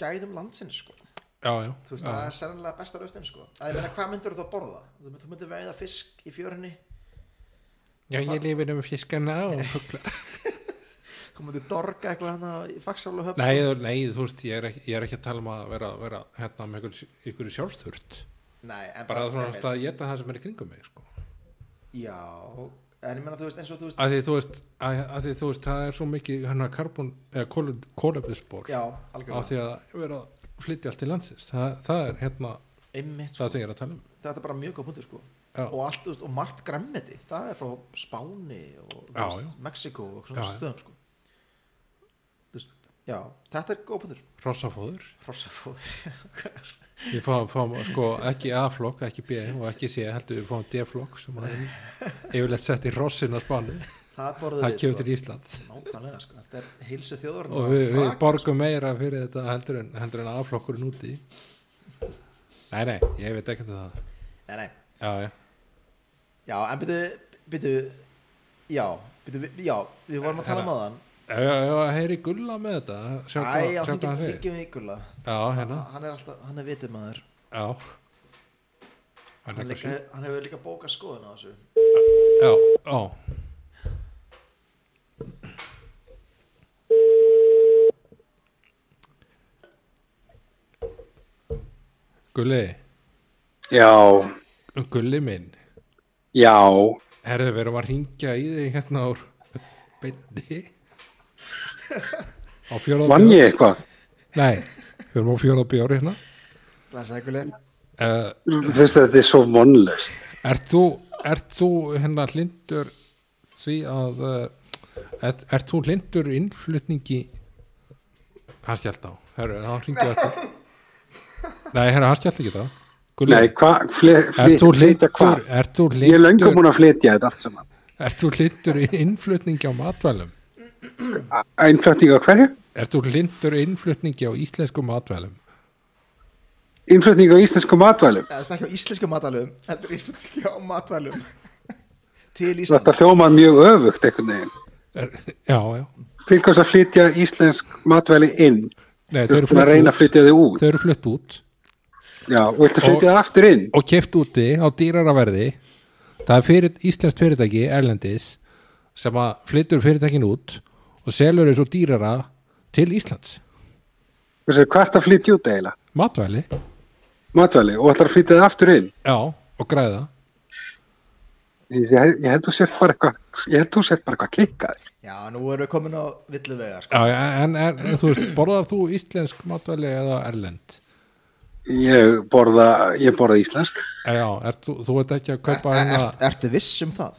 B: gæðum landsins sko.
A: já, já,
B: þú veist,
A: já,
B: það er sennilega besta lausnin sko. að ég meina, hvað myndur þú að borða? þú myndur, þú myndur veiða fisk í fjörinni
A: já, ég lifir um fiskana og fugla
B: þú myndur dorga eitthvað hana í fagsálu höfn
A: nei, þú- nei, þú veist, ég er, ekki, ég er ekki að tala um að vera, vera hérna með ykkur, ykkur sjálfsþurft
B: Nei, en
A: bara svona
B: einmitt.
A: að geta það sem er í kringum mig sko
B: já, en ég meina, þú veist, eins og þú veist
A: að því þú veist, að, að því, þú veist það er svo mikið hérna karbon eða kólefnisbor
B: já,
A: á
B: algjörlega,
A: því að vera að flytja allt til landsins það, það er hérna
B: einmitt sko.
A: það sem ég er að tala um
B: þetta er bara mjög góð punktur sko
A: Já.
B: og, allt, þú veist, og margt græmmeti, það er frá Spáni og þú
A: Já,
B: veist, Mexiko og svona
A: Já, já.
B: stöðum sko Þú veist, já, þetta er góð punktur
A: rossafóður
B: Hrossafóður,
A: við fáum, fáum sko ekki A-flokk, ekki B og ekki C, heldur við fáum D-flokk sem að er yfirleitt sett í rossin á Spáni
B: það borðum
A: það kemur
B: við
A: til Ísland
B: sko. nákvæmlega sko, þetta er heilsu þjóður
A: og við, við borgum meira fyrir þetta heldur en, heldur en A-flokkurinn úti nei, nei, ég veit ekki um það
B: nei, nei.
A: já, já,
B: já, en byrju, byrju já, byrju, já, við vorum að tala um aðan
A: já, já, já heyri gulla með þetta Hérna, sjá
B: æ,
A: hvað
B: já,
A: sjá hvað
B: hringjum
A: hann segir
B: hringjum í Gulla
A: já, hérna
B: hann er alltaf, hann er vitum aður
A: Já Hann
B: hann,
A: er
B: líka-
A: eitthvað
B: hann hefur líka bókað skoðun á þessu
A: sjö Já, já Gulli
C: Já,
A: Gulli minn
C: já,
A: Herðu, við erum að ringja í þig hérna úr beinni Á fjóra
C: vann ég eitthvað?
A: Nei, við erum á fjóra bjóri hérna
B: blæsaði Gulli
A: uh,
C: Þú veist að þetta er svo vonlust.
A: Ert þú, ert þú hérna hlindur því að uh, ert, ert þú hlindur innflutningi hann skjált á herru, hann hringið eftir nei, herru, hann skjált ekki það Gulli,
C: Nei, hvað,
A: ert þú
C: flytja
A: hlindur
C: hvað?
A: ert þú
C: Ég er löngum
A: hlindur,
C: búin að flytja þetta allt saman.
A: ert þú hlindur innflutningi á matvælum
C: Einflutning á hverju?
A: ert þú hlindur innflutningi á íslenskum matvælum
C: Einflutning á íslensku matvælum.
B: Það er ekki á íslensku matvælum Þetta er íslensku á matvælum Til
C: Þetta
B: Íslands
C: hljómar mjög öfugt einhvern veginn.
A: er, já, já
C: Til hvers að flytja íslensk matvæli inn?
A: nei,
C: Þú ert búin að reyna að flytja þið út.
A: þau eru flutt út
C: Já, og viltu flytja það aftur inn?
A: og keft úti á dýrara verði það er fyrir, íslenskt fyrirtæki erlendis sem að flyttur fyrirtækin út og selur þessu dýrara til Íslands
C: Þú veist, hvað ertu að flytja út eiginlega?
A: matvæli,
C: Matvæli, og ætlar að flytja það aftur inn?
A: já, og græða
C: Ég, ég held þú sért bara eitthvað, ég held þú sért bara eitthvað klikkaður.
B: Já, nú erum við komin á villu vegar sko.
A: já, en, en, en þú veist, borðar þú íslensk matvæli eða erlend
C: Ég borða, ég borða íslensk.
A: er, Eh, já, er, þú, þú ert ekki að kaupa
B: er,
A: hérna,
B: er, Ertu viss um það?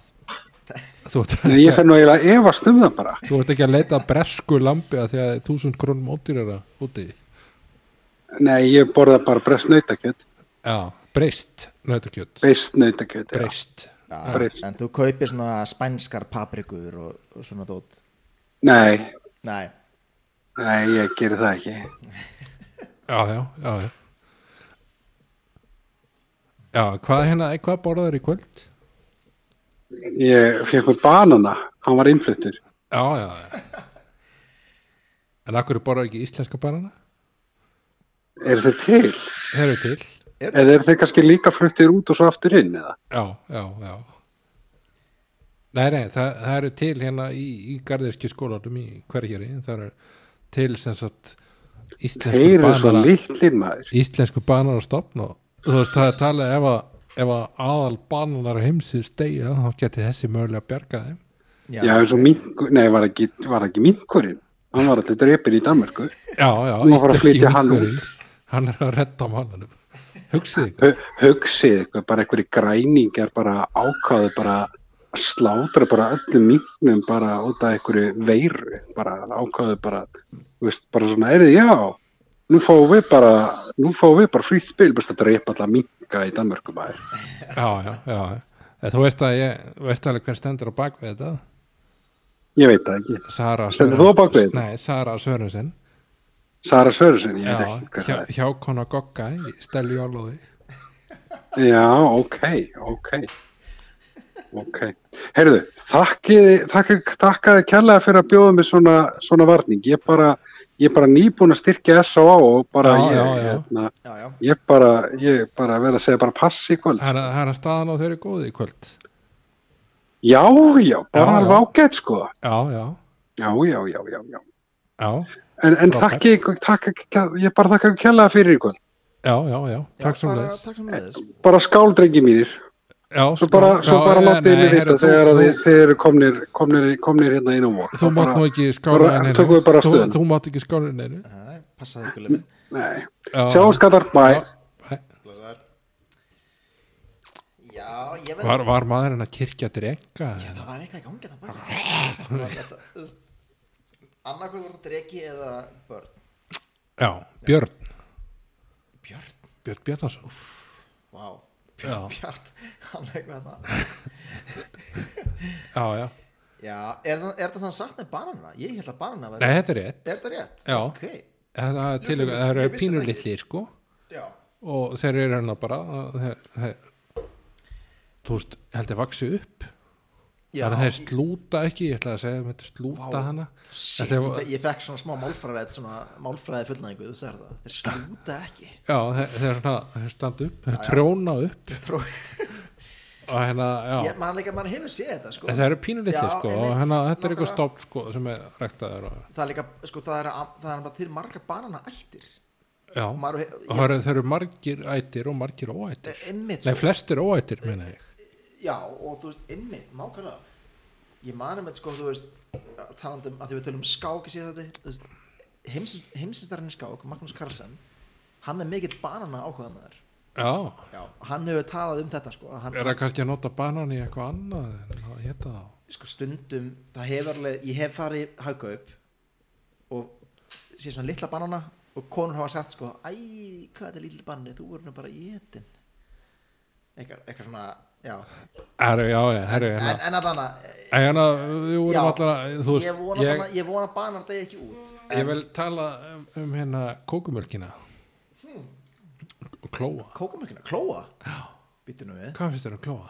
A: þú, ert
C: Eh, Nei,
A: ekki,
C: ég fer nú eiginlega að efast um það bara.
A: þú ert ekki að leita að bresku lambi að því að þúsund krónum ódýrara úti
C: Nei, ég borða bara breyst nautakjöt.
A: já, breyst, nautakjöt
C: Breyst nautakjöt, já.
A: breyst,
C: Breyst.
B: En þú kaupir svona spænskar paprikur og, og svona dót
C: Nei,
B: Nei,
C: nei, ég geri það ekki.
A: já, já, já, já. Já, hvað hérna, hvað borðar í kvöld?
C: Ég fekk með banana, hann var innfluttur.
A: Já, já, já. En akkur borðar ekki íslenska banana?
C: Er þeir til?
A: Þeir eru til.
C: Eða er þeir kannski líka fluttir út og svo aftur inn, eða?
A: Já, já, já. Nei, nei, það, það eru til hérna í, í garðirski skólanum í hverjari. Það eru til sem sagt íslensku
C: Þeir eru svo
A: banana,
C: litlir maður.
A: íslensku banana stopn og þú veist, það er talað ef að, ef að aðal bananar heimsins deyja, þá geti þessi mögulega að bjarga þeim.
B: já,
C: Já, eins og minkur, nei, var ekki, var ekki minkurinn. Hann var alltaf drepin í Danmarku.
A: já, já,
C: Nú að fara að
A: íslenski
C: flytja hann
A: minkurinn. hann er að redda mannanum hugsið ykkur
C: Hu- Hugsið eitthvað, bara einhverju græningar bara ákvaðu bara að slátra bara öllum minknum bara út af einhverju veiru, bara ákvaðu bara, þú veist, bara svona, er þið, já, nú fáum við bara, nú fáum við bara frýtt spil, bara að drepa alla minka í Danmörku maður.
A: já, já, já, Eða Þú veist að ég, veist alveg hver stendur á bakvið þetta
C: ég veit það ekki
A: Sara
C: Stendur þú á bak við þetta?
A: Nei, Sara Sörensen
C: Sara Sörursen, ég
A: Já,
C: veit ekki hvað
A: hjá,
C: það
A: hjá kona Gogga í Stelju Álóði
C: er já, ok, ok ok heyrðu, þakkiði þakki- þakkaði kærlega fyrir að bjóða mig svona, svona varning, ég bara ég bara nýbúin að styrkja S.O.A. og bara
A: Já,
C: ég,
A: já, já.
C: Hérna,
B: já, já,
C: ég bara, ég bara verð að segja bara pass í kvöld
A: Það er að- það er að staðan á þeirri góði í kvöld
C: já, já, bara
A: Já, já.
C: alveg ágætt sko
A: Já, já,
C: já, já, já, já, já
A: já,
C: en, en
A: Frábært.
C: þakki, ykkur- þakka, ég bara þakka ykkur kærlega fyrir í kvöld
A: já, já, já Takk
B: já,
A: svo
B: bara-
A: leðis
B: takk sem leiðis
C: bara skál drengi mínir svo
A: sko.
C: bara, svo bara látið mig vita þegar að þið, þið eru komnir, komnir, komnir hérna inn á vor
A: Þú mátt nú ekki skára
C: bara-
A: henni
C: tökum við bara
A: Þú,
C: afstöðuna.
A: þú mátt ekki skára henni
B: Nei, passaði ykkur lemmin
C: Nei. sjáum skattar, bye
B: já, ég verð
A: Var, var maðurinn að kirkja drenga?
B: Já, það var eitthvað í gangi það bara annarkvæð var það dregi eða börn
A: Já, Björn
B: Björn,
A: Björn Bjarnason
B: vá
A: Já.
B: Björn, Björn, hann er eitthvað það
A: Já, já
B: Já, er það, er það sann sagt með bananina? Ég held að bananina væri
A: Nei, þetta er rétt
B: Er það rétt?
A: Já.
B: Ok,
A: Það er til og það
B: Ég vissi- ég
A: eru
B: vissi það ekki.
A: pínulitlir sko
B: já
A: og þeir eru hérna bara þeir, þeir, þú veist, held ég vaksi upp
B: Já,
A: þannig að þeir slúta ekki, ég ætla að segja þetta slúta
B: Vá.
A: hana
B: shit,
A: Þetta var-
B: ég, ég fekk svona smá málfræðið svona málfræðið fullnæðingu, þú sér það Þeir slúta ekki
A: Já, þeir, þeir, svona, þeir standa upp, þeir tróna upp
B: Tró,
A: og hérna, já,
B: ég, man, leika, man hefur séð þetta sko
A: En það eru pínulitlir
B: Já,
A: sko
B: einmitt,
A: og hérna, þetta er eitthvað
B: nákvæmlega.
A: stofn sko sem er ræktaður og,
B: Það er líka, sko, það er, það er bara til margar banana ættir
A: já,
B: Og
A: og
B: maður, ég, Eh,
A: það eru, það eru margir ættir og margir óættir,
B: einmitt, sko.
A: nei flestir óættir meina ég,
B: Já, og þú veist, einmitt, nákvæmlega Ég mani með, sko, þú veist talandum að því við tölum um skák í síðan þetta heimsinstarinn í skák, Magnús Carlsen hann er mikill banana áhugað með þær
A: já
B: Já, hann hefur talað um þetta, sko að hann,
A: er það kannski að nota banan í eitthvað annað en að hétta þá
B: sko, stundum, það hefur alveg ég hef farið í hagkaup og sé svona litla banana og konur hafa sagt, sko, æ hvað er þetta lítið banni, þú voru nú bara í etin eitthvað, eitthvað svona já,
A: Herru, já, já, herru,
B: en,
A: hérna
B: en allan
A: En hérna, við vorum
B: Já.
A: allan að, þú
B: ég
A: veist,
B: vona,
A: ég,
B: ég, ég vona að banar degi ekki út
A: ég vil tala um, um hérna kókumölkina og klóa.
B: kókamölkina, klóa býttu nú við,
A: Hvað finnst þér um klóa?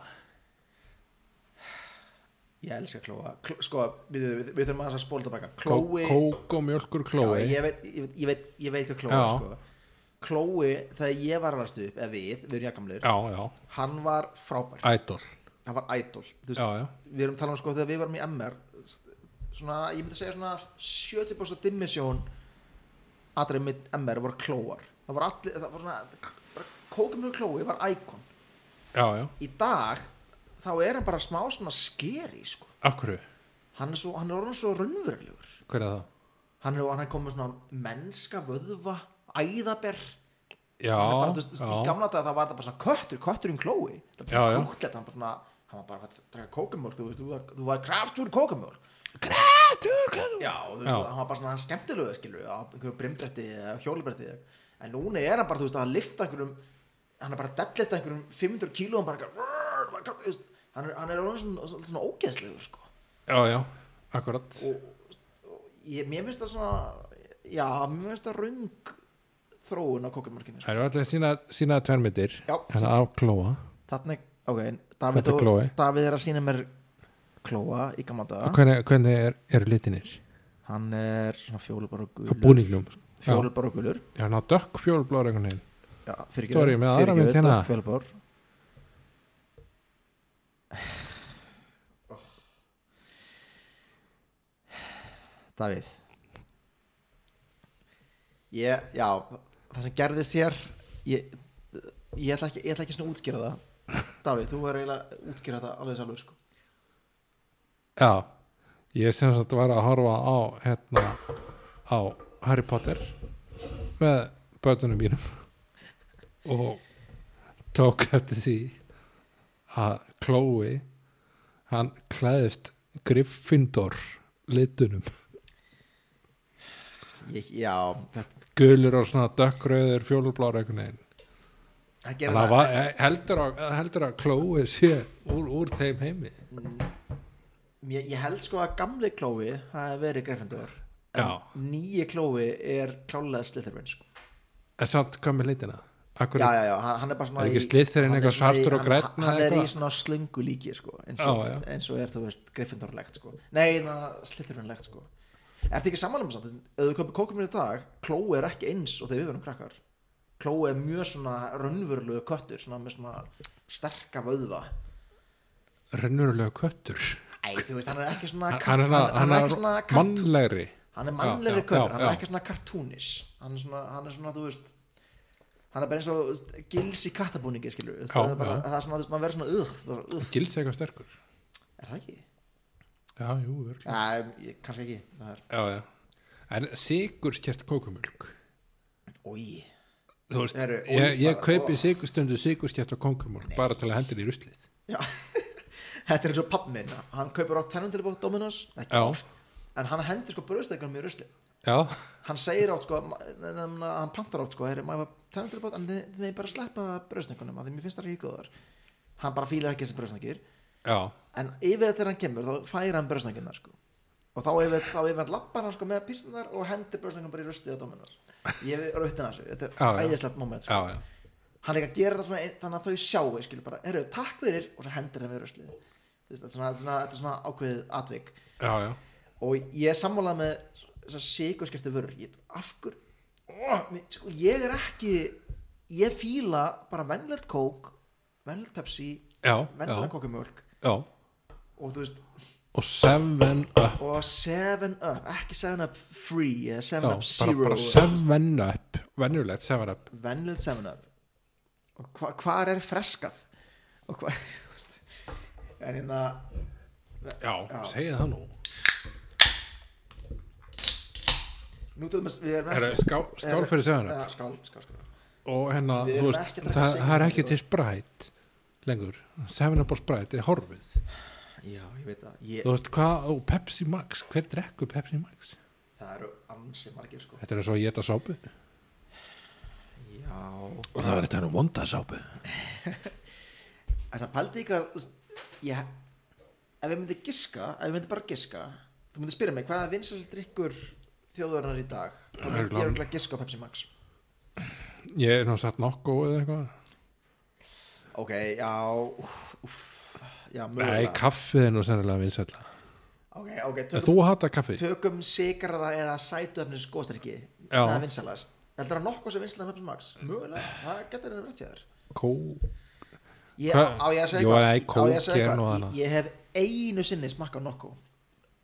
B: ég elska klóa Kl sko, við, við, við þurfum aðeins að spóla tilbaka
A: Kó,
B: klói,
A: kók og mjölkur klói.
B: Já, ég, veit, ég, veit, ég, veit, ég veit hvað klóa
A: Já.
B: er, sko. klói, þegar ég var alveg stuð eða við, við erum jakamlir
A: já, já,
B: hann var frábær,
A: ædol.
B: hann var idol Þú veist,
A: Já, já,
B: við erum talað um sko þegar við varum í MR svona, ég myndi segja svona 70% dimmisjón aðrið mitt MR voru klóar það voru allir, það voru svona kókumölkur klói var íkon
A: já, já,
B: í dag þá er hann bara smá svona skeri sko.
A: akkurru,
B: hann er, svo, hann er orðin svo raunverulegur
A: hver er það?
B: hann er, hann er komið svona mennska vöðva æðaber
A: Já,
B: Hann er bara, þú veist, þú veist, í
A: já,
B: gamla dag það var það bara svona köttur kötturinn klói það var
A: Já,
B: bara
A: já.
B: kóklet hann, bara svona, hann var bara að draka kókumjólk þú, veist, þú, var, þú var kraftur kókumjólk kraftur kókumjólk já, og þú veist,
A: Já.
B: hann var bara svona skemmtilegur skilur, á einhverju brimbretti eða hjólubretti en núna er hann bara, þú veist, að lifta einhverjum hann er bara að dellista einhverjum 500 kíló hann bara, eitthvað, þú veist, hann er, hann er orðinn svona, svona, svona ógeðslegur sko.
A: já, já, akkurat.
B: ég, mér finnst það svona já, mér finnst það röng þróun á kókumjólkinni sko.
A: Það eru allir sína, sína tvermitir,
B: Já.
A: hérna á klóa.
B: Þannig, ok, Davíð,
A: Þetta er
B: og-
A: Chloe.
B: Davíð er að sína mér klóa í gamla daga
A: Hvernig, hvernig er, eru litinir?
B: Hann er svona fjólubar og
A: Á
B: gulur
A: búningnum. Já,
B: Fjólubar og gulur
A: já, ná, dökk fjólblóður einhvern veginn.
B: Já, fyrir
A: Sorry, með aðra mynd hérna.
B: Fjólubar Oh. Davíð Ég, já, það sem gerðist hér Ég, ég, ætla, ekki, ég ætla ekki svona að útskýra það Davíð, þú verður eiginlega að útskýra það alveg sjálfur sko
A: Já, ég sem sagt var að horfa á hérna á Harry Potter með börnunum mínum og tók eftir því að Chloe hann klæðist Gryffindor litunum
B: Ég, já, þetta,
A: gulur og svona dökkröður fjólublára einhvern veginn
B: hann
A: En
B: gerði
A: það
B: það,
A: var, eh, heldur, að, heldur að klói sé úr, úr þeim heimi
B: Ég, ég held sko að gamli klófi hafi verið Gryffindor en
A: Já.
B: nýji klófi er klálega Slytherin sko.
A: en samt komið leitina Akkur,
B: já, já, já, hann, hann er bara svona
A: Er ekki
B: í-
A: Slytherin
B: hann er
A: eitthvað
B: svona í-
A: svartur og
B: hann-
A: grænn
B: hann
A: eða
B: er í
A: eitthvað?
B: svona slöngu líki sko, eins,
A: Já,
B: og,
A: já.
B: eins og er þú veist Gryffindorlegt sko. nei, það Slytherinlegt sko. ertu ekki samanlega um samt ef þú köpir kókum í dag, klói er ekki eins og þegar við verum krakkar klói er mjög svona raunverulegu köttur svona með svona sterka vöðva
A: rennurulega köttur
B: Æ, þú veist, hann er ekki svona
A: Hann- hann
B: kart-
A: er, hann, hann
B: ekki svona
A: er
B: kart-
A: mannlegri
B: hann er
A: Já,
B: mannlegri
A: já,
B: köttur,
A: já,
B: hann er
A: já.
B: ekki svona kartúnis hann er svona, hann er svona, þú veist hann er bara eins og þú veist, gils í kattabúningi skilur, já, það,
A: Já,
B: er bara,
A: já.
B: það er svona, þú veist, maður verður svona "Ugh", bara, "Ugh",
A: gils eitthvað sterkur
B: er það ekki?
A: já, jú, örugglega.
B: Ja, ég, kannski ekki það er,
A: já, já. en sigur skert kókumjölk
B: ói,
A: þú veist,
B: Eru-
A: ég, ég
B: bara-
A: kaupi sigur, stundu sigur skert og kókumjölk bara til að hendur í ruslið
B: já þetta er eins og pappi minn, hann kaupir á tennum til bótt Dominos, ekki
A: Já.
B: oft en hann hendur sko bröðstekunum í rusli
A: já,
B: hann segir átt sko, ma- ne- ne- ne- hann pantar átt sko, er maður tennum til bótt en þið þið megið bara sleppa bröðstekunum að því mér finnst það ekki góðar hann bara fílar ekki þessi bröðstekir
A: já,
B: en yfir þegar hann kemur þá fær hann bröðsnögginnar sko. og þá yfir, þá yfir hann lappar hann sko, með písnar og hendir bröðsnögginn bara í rustið á dóminar ég er auðvitað þessu, þetta
A: Já,
B: er
A: já.
B: æðislegt moment
A: já,
B: sko.
A: já
B: hann líka gerir þetta svona ein- þannig að þau sjáu skilur bara, eru takk fyrir og svo hendir hann við ruslið Þú veist, þetta er svona, þetta er svona, þetta er svona ákveðið atvik
A: já, já,
B: og ég er sammálað með þessar sigurskiptu vörur ég, af hver oh, mér- sko, ég er ekki ég fíla bara vennlegt kók vennlegt pepsi,
A: já, já,
B: vennlegt kókumjólk
A: já.
B: og þú veist,
A: og seven up
B: og 7 up, ekki 7 up free eða 7
A: já,
B: up
A: bara,
B: zero
A: bara seven up venjulegt seven up
B: venlöð 7 up og hva, hvar er freskað og hvað en hérna
A: já,
B: Já.
A: segið það nú
B: nú til dæmis við erum
A: Herra, skál, skál fyrir seven up
B: ja, skál, skál, skál.
A: og hérna,
B: Við
A: þú
B: erum
A: veist,
B: ekki að drekka
A: það,
B: Seven
A: það er
B: Up,
A: ekki
B: sko.
A: til sprætt lengur, 7up og sprætt er horfið,
B: já, ég veit það ég,
A: þú veist hvað og Pepsi Max, hver drekku Pepsi Max
B: það eru ansi margir sko
A: þetta er svo að geta sápu og
B: já,
A: það var þetta nú vonda sápu
B: þess að pældi ykkar þú veist, ég, ef ég myndi giska ef ég myndi bara giska þú myndi spyrja mig hvað er vinsast drikkur þjóðurinnar í dag þá myndi
A: Örugglega-
B: ég örugglega giska á Pepsi Max
A: ég er nú satt nokku eða eitthvað
B: Ok, já úff, úff, Já,
A: nei,
B: mögulega
A: kaffið er nú sennilega vinsætla
B: Ok, ok, tökum,
A: þú hata kaffi,
B: tökum sigraða eða sætuöfnis góðstyrki
A: Já.
B: Það er vinsalast Heldur það nokkuð sem vinsalast með Pepsi Max? Mögulega, það getur þeirra rétt hjá þér
A: kó
B: Ég,
A: Hvað?
B: á ég að segja
A: Jú,
B: eitthvað?
A: nei,
B: Á ég að
A: kók er nú
B: segja eitthvað?
A: annað.
B: Ég, ég hef einu sinni smakkað nokkuð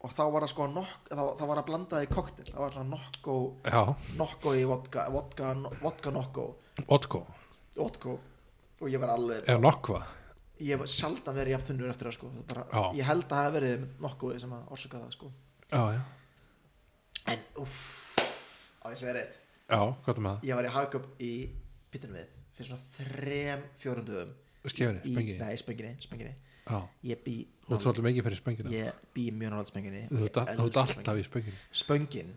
B: og þá var það sko nokk þá, þá var það blandað í koktel það var svona nokko
A: já,
B: nokko í vodka vodka, vodka nokko
A: otko
B: vodka og ég var alveg
A: eða nokkva,
B: ég var sjaldan verið jafn þunnur eftir það sko Það bara,
A: Já.
B: ég held að það hafi verið nokkuð sem að orsaka það sko
A: já, já
B: En, uff, á ég segi rétt
A: já, hvað er með
B: Ég var í hagköp í pittunum við Fyrir svona þrem, fjórum dögum
A: það skefri,
B: í,
A: spengi,
B: Nei, spenginni, spenginni
A: já
B: Ég bý,
A: þú ert svolítið mikið fyrir spengina
B: ég bý mjög nálega spenginni
A: þú ert all- þú ert alltaf í spengina
B: Spöngin,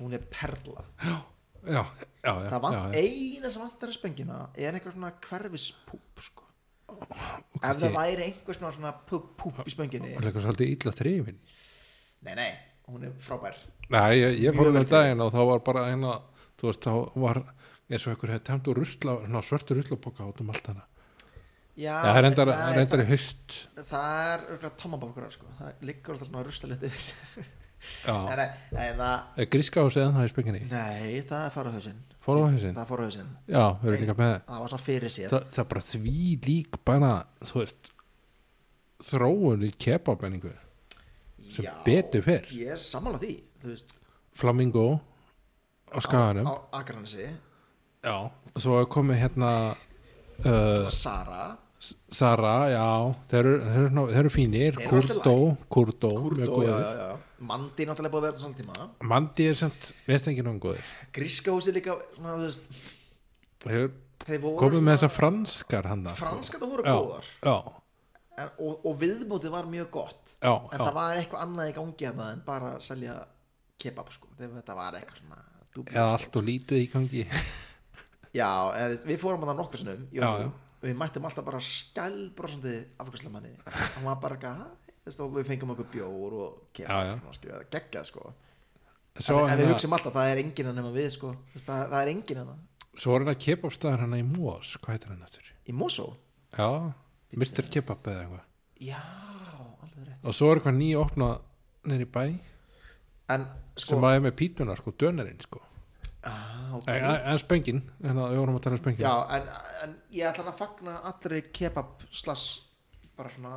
B: hún er perla
A: já, já, já,
B: Það vant,
A: já, já.
B: eina sem vantar að spöngina Er einhver svona hverfispúp sko. Ef það
A: ég-
B: væri einhver svona, svona púp, púp í spönginni
A: Það er eitthvað svolítið illa þrifin
B: Nei, nei, hún er frábær
A: Nei, ég, ég
B: Mjög
A: fór um
B: vel
A: daginn og þá var bara eina þú veist, þá var eins og einhver hefði tæmt úr rusla, ná, svörtu ruslapoka út um allt hana
B: Ah, Já,
A: Já, það er reyndar,
B: nei,
A: reyndar í haust
B: það, það er örugglega tommabokkurar sko. Það liggur alltaf svona rustalit yfir sér Nei,
A: Já,
B: nei, nei, það,
A: er gríska hús eða það í spenginni
B: nei, það er farahauðsinn
A: Fór á hausinn?
B: Það er farahauðsinn
A: Já, við erum líka með
B: Það var svona fyrir sér
A: Þa, Það er bara því lík bara, þú veist þróun í kebabenningu sem
B: Já,
A: betur fer.
B: Ég er sammála því Þú veist
A: Flamingo á skaganum
B: Á Akranesi
A: Já, svo er komið hérna uh,
B: Sara
A: Sara, já þeir eru, þeir eru, ná- þeir eru fínir
B: Þeir eru alltaf
A: Kurdo, Kurdo, mjög
B: Kurdo, já,
A: góður
B: já, já Mandi náttúrulega búið að vera þetta svona tíma
A: Mandi er samt, veist ekki náum góður
B: Gríska húsi líka Svona, þú veist
A: Hefur
B: Þeir voru
A: komið með þessar franskar hann
B: Franska það voru
A: já,
B: góðar
A: já,
B: en, og, og viðmótið var mjög gott
A: já,
B: En
A: já,
B: það var eitthvað annað í gangi hérna En bara að selja kebab sko Þegar þetta var eitthvað svona dúbli-
A: eða allt og lítið í gangi
B: já, en þú veist, við fórum að það nokkur sinnum jú,
A: Já, já.
B: og við mættum alltaf bara skælbrosandi afgjörslemanni hann var bara eitthvað, hæ, veist, og við fengum okkur bjór og
A: Já, já.
B: kemur, svona, skilja, geggjað sko
A: svo
B: en, en við
A: hérna-
B: hugsim alltaf, það er enginn hann nema við sko, veist, það, það er enginn hérna. hann
A: Svo var hann að kebabstaðar hann í Mós, hvað heitir hann aftur?
B: í Mosó,
A: Já, Mr. Kebab eða eitthvað
B: já, alveg rétt
A: Og svo er eitthvað nýja opna nýri bæ
B: en
A: sem
B: sko,
A: að er með pítunar, sko, dönerinn, sko
B: ah, ok.
A: En, en spöngin, en að við vorum að tala um spöngin
B: já, en, en ég ætla að fagna allri kebab slass bara svona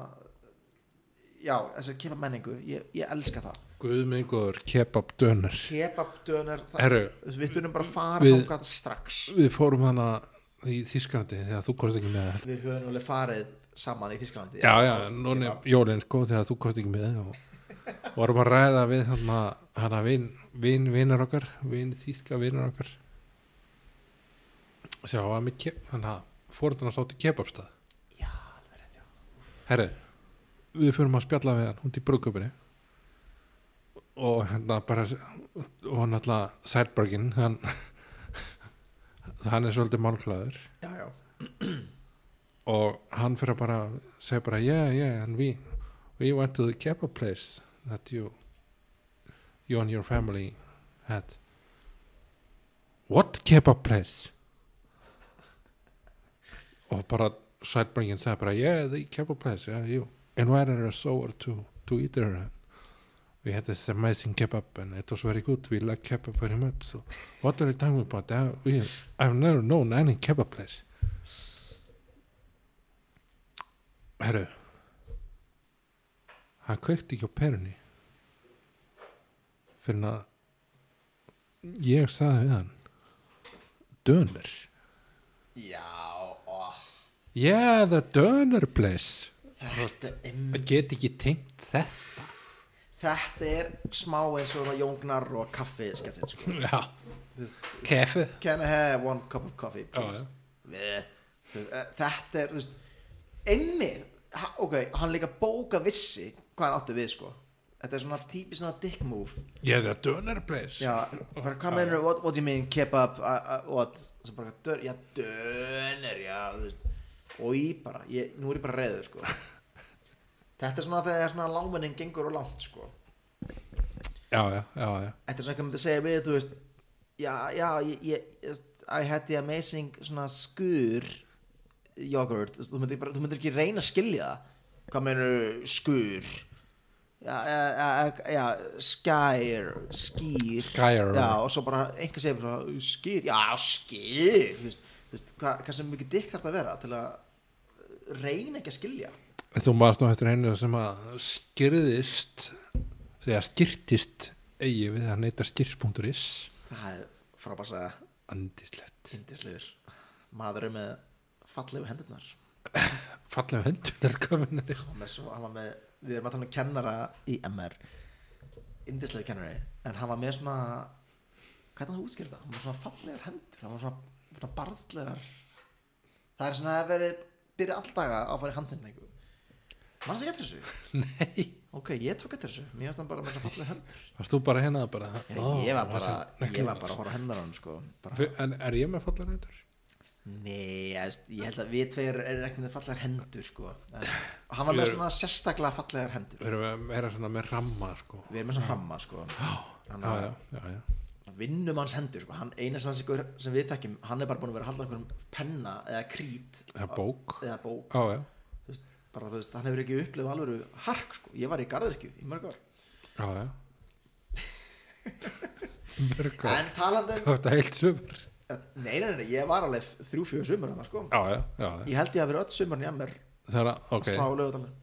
B: já, þessi kebab menningu, ég, ég elska það
A: Guðmengur, kebab, döner
B: kebab dönar,
A: Herru,
B: við þurfum bara að fara
A: Við-
B: við, strax
A: við fórum hann að í Þískarandi þegar þú komst ekki með
B: við höfum alveg farið saman í Þísklandi
A: Já, já, núna er jólinn, sko, þegar þú komst ekki með og vorum að ræða við hann að hann að vin, vin, vinar okkar vin, þýska vinar okkar Sjá, hann með keb, hann að fórðan að sátti kebabstað
B: já alveg rétt, já
A: Herri, við fyrum að spjalla við hann hundi í brúðköpunni og hérna bara og hann alltaf Sætbergin hann, hann er svolítið málklaður
B: já, já,
A: og hann fyrir að bara segja bara yeah, yeah, and we we went to the kebab place that you you and your family had what kebab place og bara sætbringin segja bara yeah, the kebab place, yeah, you invited us over to, to eat there and we had this amazing kebab and it was very good, we like kebab very much so what are you talking about I, we, I've never known any kebab place Herru Hann kveikti ekki á perunni fyrir að ég sagði við hann Döner
B: já oh, ó,
A: Yeah, the döner place
B: þetta, em,
A: Það get ekki tengt þetta
B: þetta er smá eins og það jóngnar og kaffi skettin, sko.
A: Já,
B: Þú veist,
A: kefi
B: can I have one cup of coffee please
A: Já,
B: Bleh. Þú veist, eh, þetta er þú veist, einmið, ha- ok, hann líka bóka vissi hvað hann átti við sko þetta er svona típist svona dick move
A: Yeah, the döner place
B: Já, bara hvað mennur, what, what do you mean, kebab, uh, uh, what, sem bara, dör, já, döner, já, þú veist, og ég bara, ég, nú er ég bara reyður, sko. Þetta er svona þegar svona lámennin gengur og langt, sko.
A: já, já, já, já.
B: Þetta er svona eitthvað myndi segja við, þú veist, já, já, ég, ég, þú veist, I had the amazing svona skur yoghurt, þú veist, þú myndir, bara, þú myndir ekki reyna að skilja það. Hvað mennur skur? Já, já, já, já, skær, skýr.
A: Skyer
B: Já, og svo bara einhver segir bara, skýr, já, skýr þú veist, þú veist hvað, hvað sem mikið dikk þarf að vera til að reyna ekki að skilja
A: Þú maður nú eftir einu sem að skyrðist segja skyrtist eigi við að neyta skyrst.is
B: það er frábæsa
A: Andislegt
B: yndislegur maður er með fallegu hendurnar
A: Fallega hendunar kominari
B: hann, með svo, hann var með, við erum að tala um kennara í MR yndislegur kennari, en hann var með svona hvað er það að útskýra það? hann var svona fallegar hendur, hann var svona, svona barðslegar það er svona að veri byrja alldaga á að fara í handsinningu mannst ekki eftir þessu?
A: Nei
B: Ok, ég tók eftir þessu, mér finnst hann bara með það fallið hendur
A: Varst þú bara hérna bara
B: ég,
A: ó,
B: ég var
A: það
B: bara,
A: sem-
B: ég var bara að horfa á hendur á hann sko bara,
A: Fyr- En er ég með fallar hendur?
B: Nei, ég, veist, ég held að við tveir erum ekki með fallegar hendur sko en, Hann var
A: Við
B: með
A: erum-
B: svona sérstaklega fallegar hendur
A: Við erum að vera svona með ramma sko
B: Við erum með svona hamma sko Hann
A: Já,
B: var-
A: já, já, já
B: Vinnum hans hendur sko hann, Eina sem, hans ykkur, sem við þekkjum, hann er bara búin að vera að halda einhverjum penna eða krít
A: Það er bók
B: eða bók
A: Já, já,
B: Þú veist, bara, þú veist, Hann hefur ekki upplifað alveg hark sko Ég var í garðirkju í mörg ár
A: já, já Mörg
B: En talandi um,
A: Þetta er heilt sumur
B: nei, nei, nei, nei, ég var alveg þrjú, fjögur sumur hann sko
A: Já, já, já, já.
B: Ég held ég að vera öll sumarn í MR
A: Það er að, ok
B: að slá lögadalinn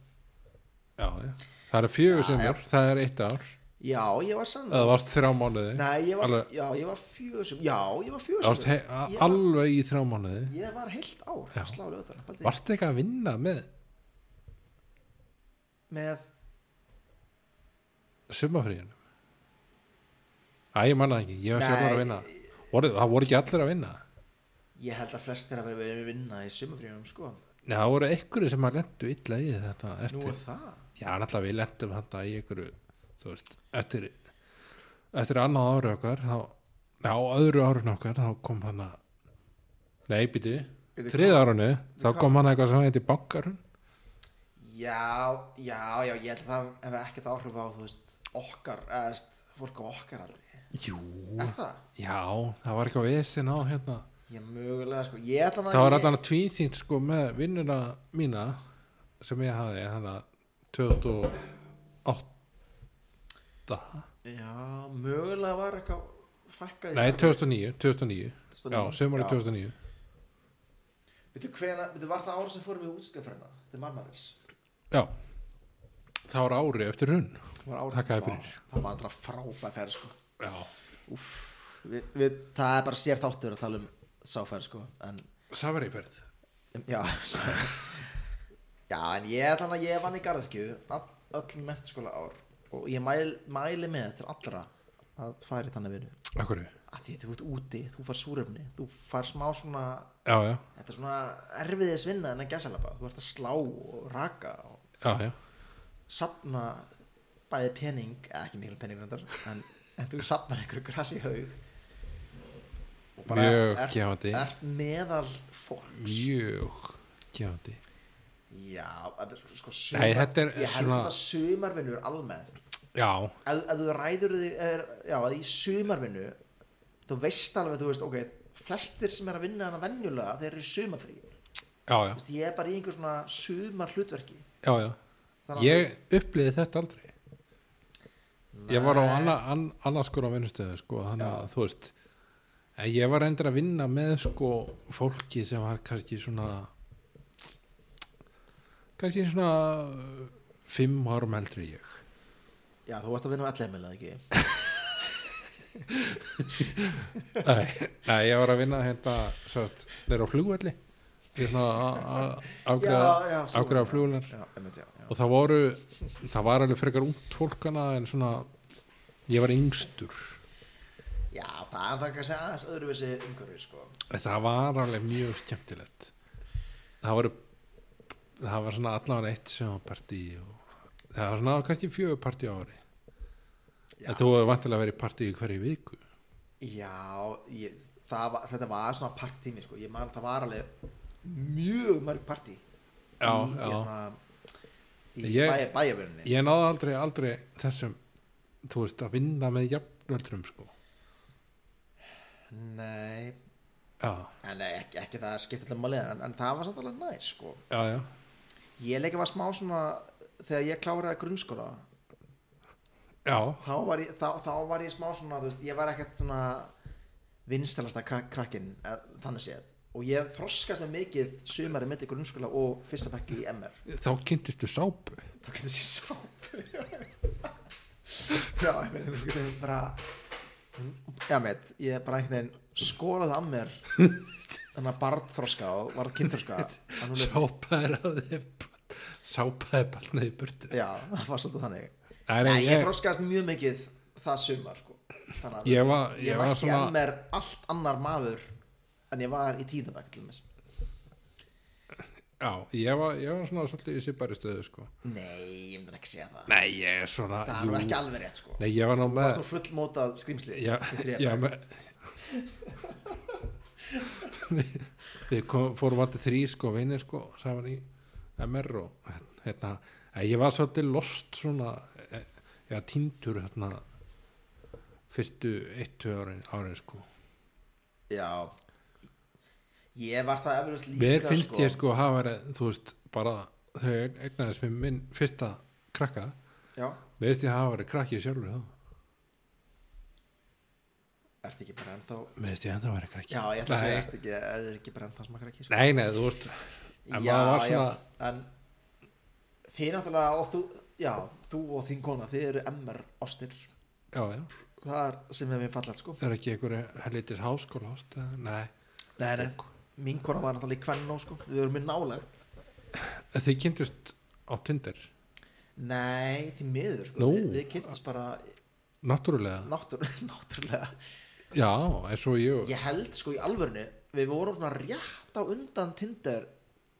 A: já, já. Það er fjögur
B: Já,
A: sumur, það er eitt ár
B: Já, ég var sann
A: Það varst þrjá mánuði
B: Nei, ég var,
A: alveg-
B: já, ég var fjögusum Já, ég var
A: Það varst
B: fjögusum
A: hei, a-
B: Ég var-
A: alveg í þrjá mánuði
B: Ég var heilt ár
A: Já.
B: að slá lögadalinn
A: Varst ekki að vinna með
B: Með,
A: sumafríðinu Æ, ég manna ekki, ég var sjálfur að
B: Nei.
A: vinna voru, Það voru ekki allir að vinna
B: ég held að flestir að vera verið að vinna í sumafríðunum sko
A: Nei, það voru einhverju sem að lendu illa í þetta
B: Nú
A: eftir,
B: er það
A: já, náttúrulega við lendum þetta í einhverju, þú veist eftir, eftir annað ára okkar þá, já, á öðru árun okkar þá kom hann að Nei, býti,
B: Bíddu,
A: þriða árunni þá kom hann eitthvað sem heiti bankarun
B: Já, já, já, ég held að það hefði ekkert áhrif á, þú veist, okkar, eða, þú veist, fólk á okkar aldrei.
A: Jú
B: Er það?
A: Já, það var eitthvað vesinn á hérna
B: Ég mögulega, sko, ég ætla að
A: Það var
B: ég...
A: allan að tvísýnt sko með vinnuna mína sem ég hafði hann að 2008
B: Já, mögulega var eitthvað fækkað í
A: Nei, 2009, 2009 Já, sömari 2009
B: Veitu, hvena, veitu, var það ára sem fórum í útskjöfrena? Þetta er marmaris.
A: Já Það var ári eftir hrun
B: Það var ára.
A: Þakkaði fyrir.
B: Það var alltaf frábæð ferð, sko.
A: Já
B: Við, við, það er bara sér þáttur að tala um sáferð, sko, en...
A: Safariferð
B: Já Já, en ég þannig að ég vann í garðskju öll mentaskóla ár og ég mæl, mæli með til allra að færi þannig vinnu
A: Akkur Já,
B: að því þú ert úti, þú far súrefni þú far smá svona,
A: já,
B: þetta er svona erfiðis vinna en að gæsalapa, þú ert að slá og raka og
A: já, já
B: sapna bæði pening, eða ekki mikil pening reyndar, en, en þú sapnar einhverju grasi haug og
A: Mjög
B: ert,
A: gefandi.
B: ert meðal fólks
A: Mjög Gjandi
B: Já, að- sko
A: Nei, þetta er
B: Ég held
A: svona-
B: að sumarvinnur almennt
A: Já,
B: Ef ef þú ræður þig er, Já, að í sumarvinnu Þú veist alveg, þú veist, ok Flestir sem er að vinna hana venjulega Þeir eru í sumarfrí Þú
A: já, já,
B: veist, Ég er bara í einhver svona sumar hlutverki
A: já, já. Ég upplýði þetta aldrei Ég var á anna, an, annarskur á vinnustöðu sko, þannig að þú veist en ég var endur að vinna með sko fólki sem var kannski svona kannski svona uh, fimm árum eldri en ég
B: Já, þú varst að vinna á allir meðlega ekki
A: nei, nei, ég var að vinna hérna sátt, þeir á flugvelli ég svona að- að afgræða
B: já, svo-
A: afgræða flugvelnar
B: Já, emmitt, já, já
A: og það voru það var alveg frekar út fólkana en svona ég var yngstur
B: Já, það er það kannski aðeins öðruvísi umhverfi, sko
A: það var alveg mjög skemmtilegt það voru það var svona allavega eitt sjónpartí og það var svona kannski fjögur partí á ári
B: Já.
A: þetta voru vantilega að vera í partí í hverju viku
B: Já, ég, það var, þetta var svona partími, sko Ég man, það var alveg mjög mörg partí
A: já,
B: í,
A: já.
B: hérna, í
A: Ég-
B: bæ, bæjarvinni
A: ég náði aldrei, aldrei þessum þú veist að vinna með jafnöldrum sko
B: Nei,
A: já,
B: en nei, ekki, ekki það skipti allir málið en, en það var samt alveg næs sko.
A: já, já,
B: Ég leika var smá svona þegar ég kláraði grunnskóla
A: já
B: þá var ég, þá, þá var ég smá svona þú veist, ég var ekkert svona vinstalasta krak krakkin eh, þannig séð og ég þroskast með mikið sumari mitt í grunnskóla og fyrsta bekki í MR
A: þá kynntistu sápu
B: þá getur þessi sápu já, ég veit ég veit bara já, meit, ég bara einhvern veginn skólaði að mér þannig að barðþroska og varð kynþroska að núna-
A: sápa er að þið sápa er balnaði í burtu
B: já, það var svolítið þannig
A: Nei,
B: Nei,
A: nei,
B: ég,
A: ég,
B: þroskaðist mjög mikið það sumar sko. þannig að
A: Ég var- ég var
B: ég var ekki
A: svona-
B: að mér allt annar maður en ég var í tíðabæk til þess
A: já, ég, var, ég var svona svolítið í sýpari stöðu sko.
B: nei, ég myndi ekki segja það
A: Nei, ég er svona
B: það er
A: jú.
B: nú ekki alveg rétt sko.
A: Nei, ég var nú
B: það var
A: með
B: svona fullmótað skrýmsli
A: Já,
B: í þriðja
A: já
B: bekk.
A: með Við- Við kom, fórum vanti þrý sko vinir sko saman í MR og hérna, að ég var svolítið lost svona eh, eða týndur hérna fyrstu eittu árin, árin sko
B: Já Ég var það eflust líka
A: Mér finnst
B: sko.
A: ég sko að hafa verið, þú veist, bara þau eignaðist við minn fyrsta krakka
B: Já,
A: Mér finnst ég að hafa verið krakki sjálfur þá
B: ertu ekki bara ennþá
A: Mér finnst ég ennþá verið krakki
B: Já, ég ætla að segja,
A: Nei,
B: ertu ekki, er ekki bara ennþá smakar ekki sko.
A: Nei, nei, þú veist en
B: Já,
A: maður var
B: já,
A: svona-
B: en Þið náttúrulega og þú Já, þú og þín kona, þið eru MR ástir
A: Já, já
B: Það er sem við mér fallað sko
A: Það er ekki einhverju hellitis háskóla ást eða- Nei,
B: Nei, nei, mín kona var náttúrulega í kvennó sko Við erum mér nálægt
A: þið kynntust á Tinder
B: Nei, því miður sko
A: Nú.
B: Við, við kynntumst bara
A: Náttúrulega,
B: náttúr, náttúrulega
A: já, eins og ég
B: Ég held sko í alvörinu Við vorum svona rétt á undan Tinder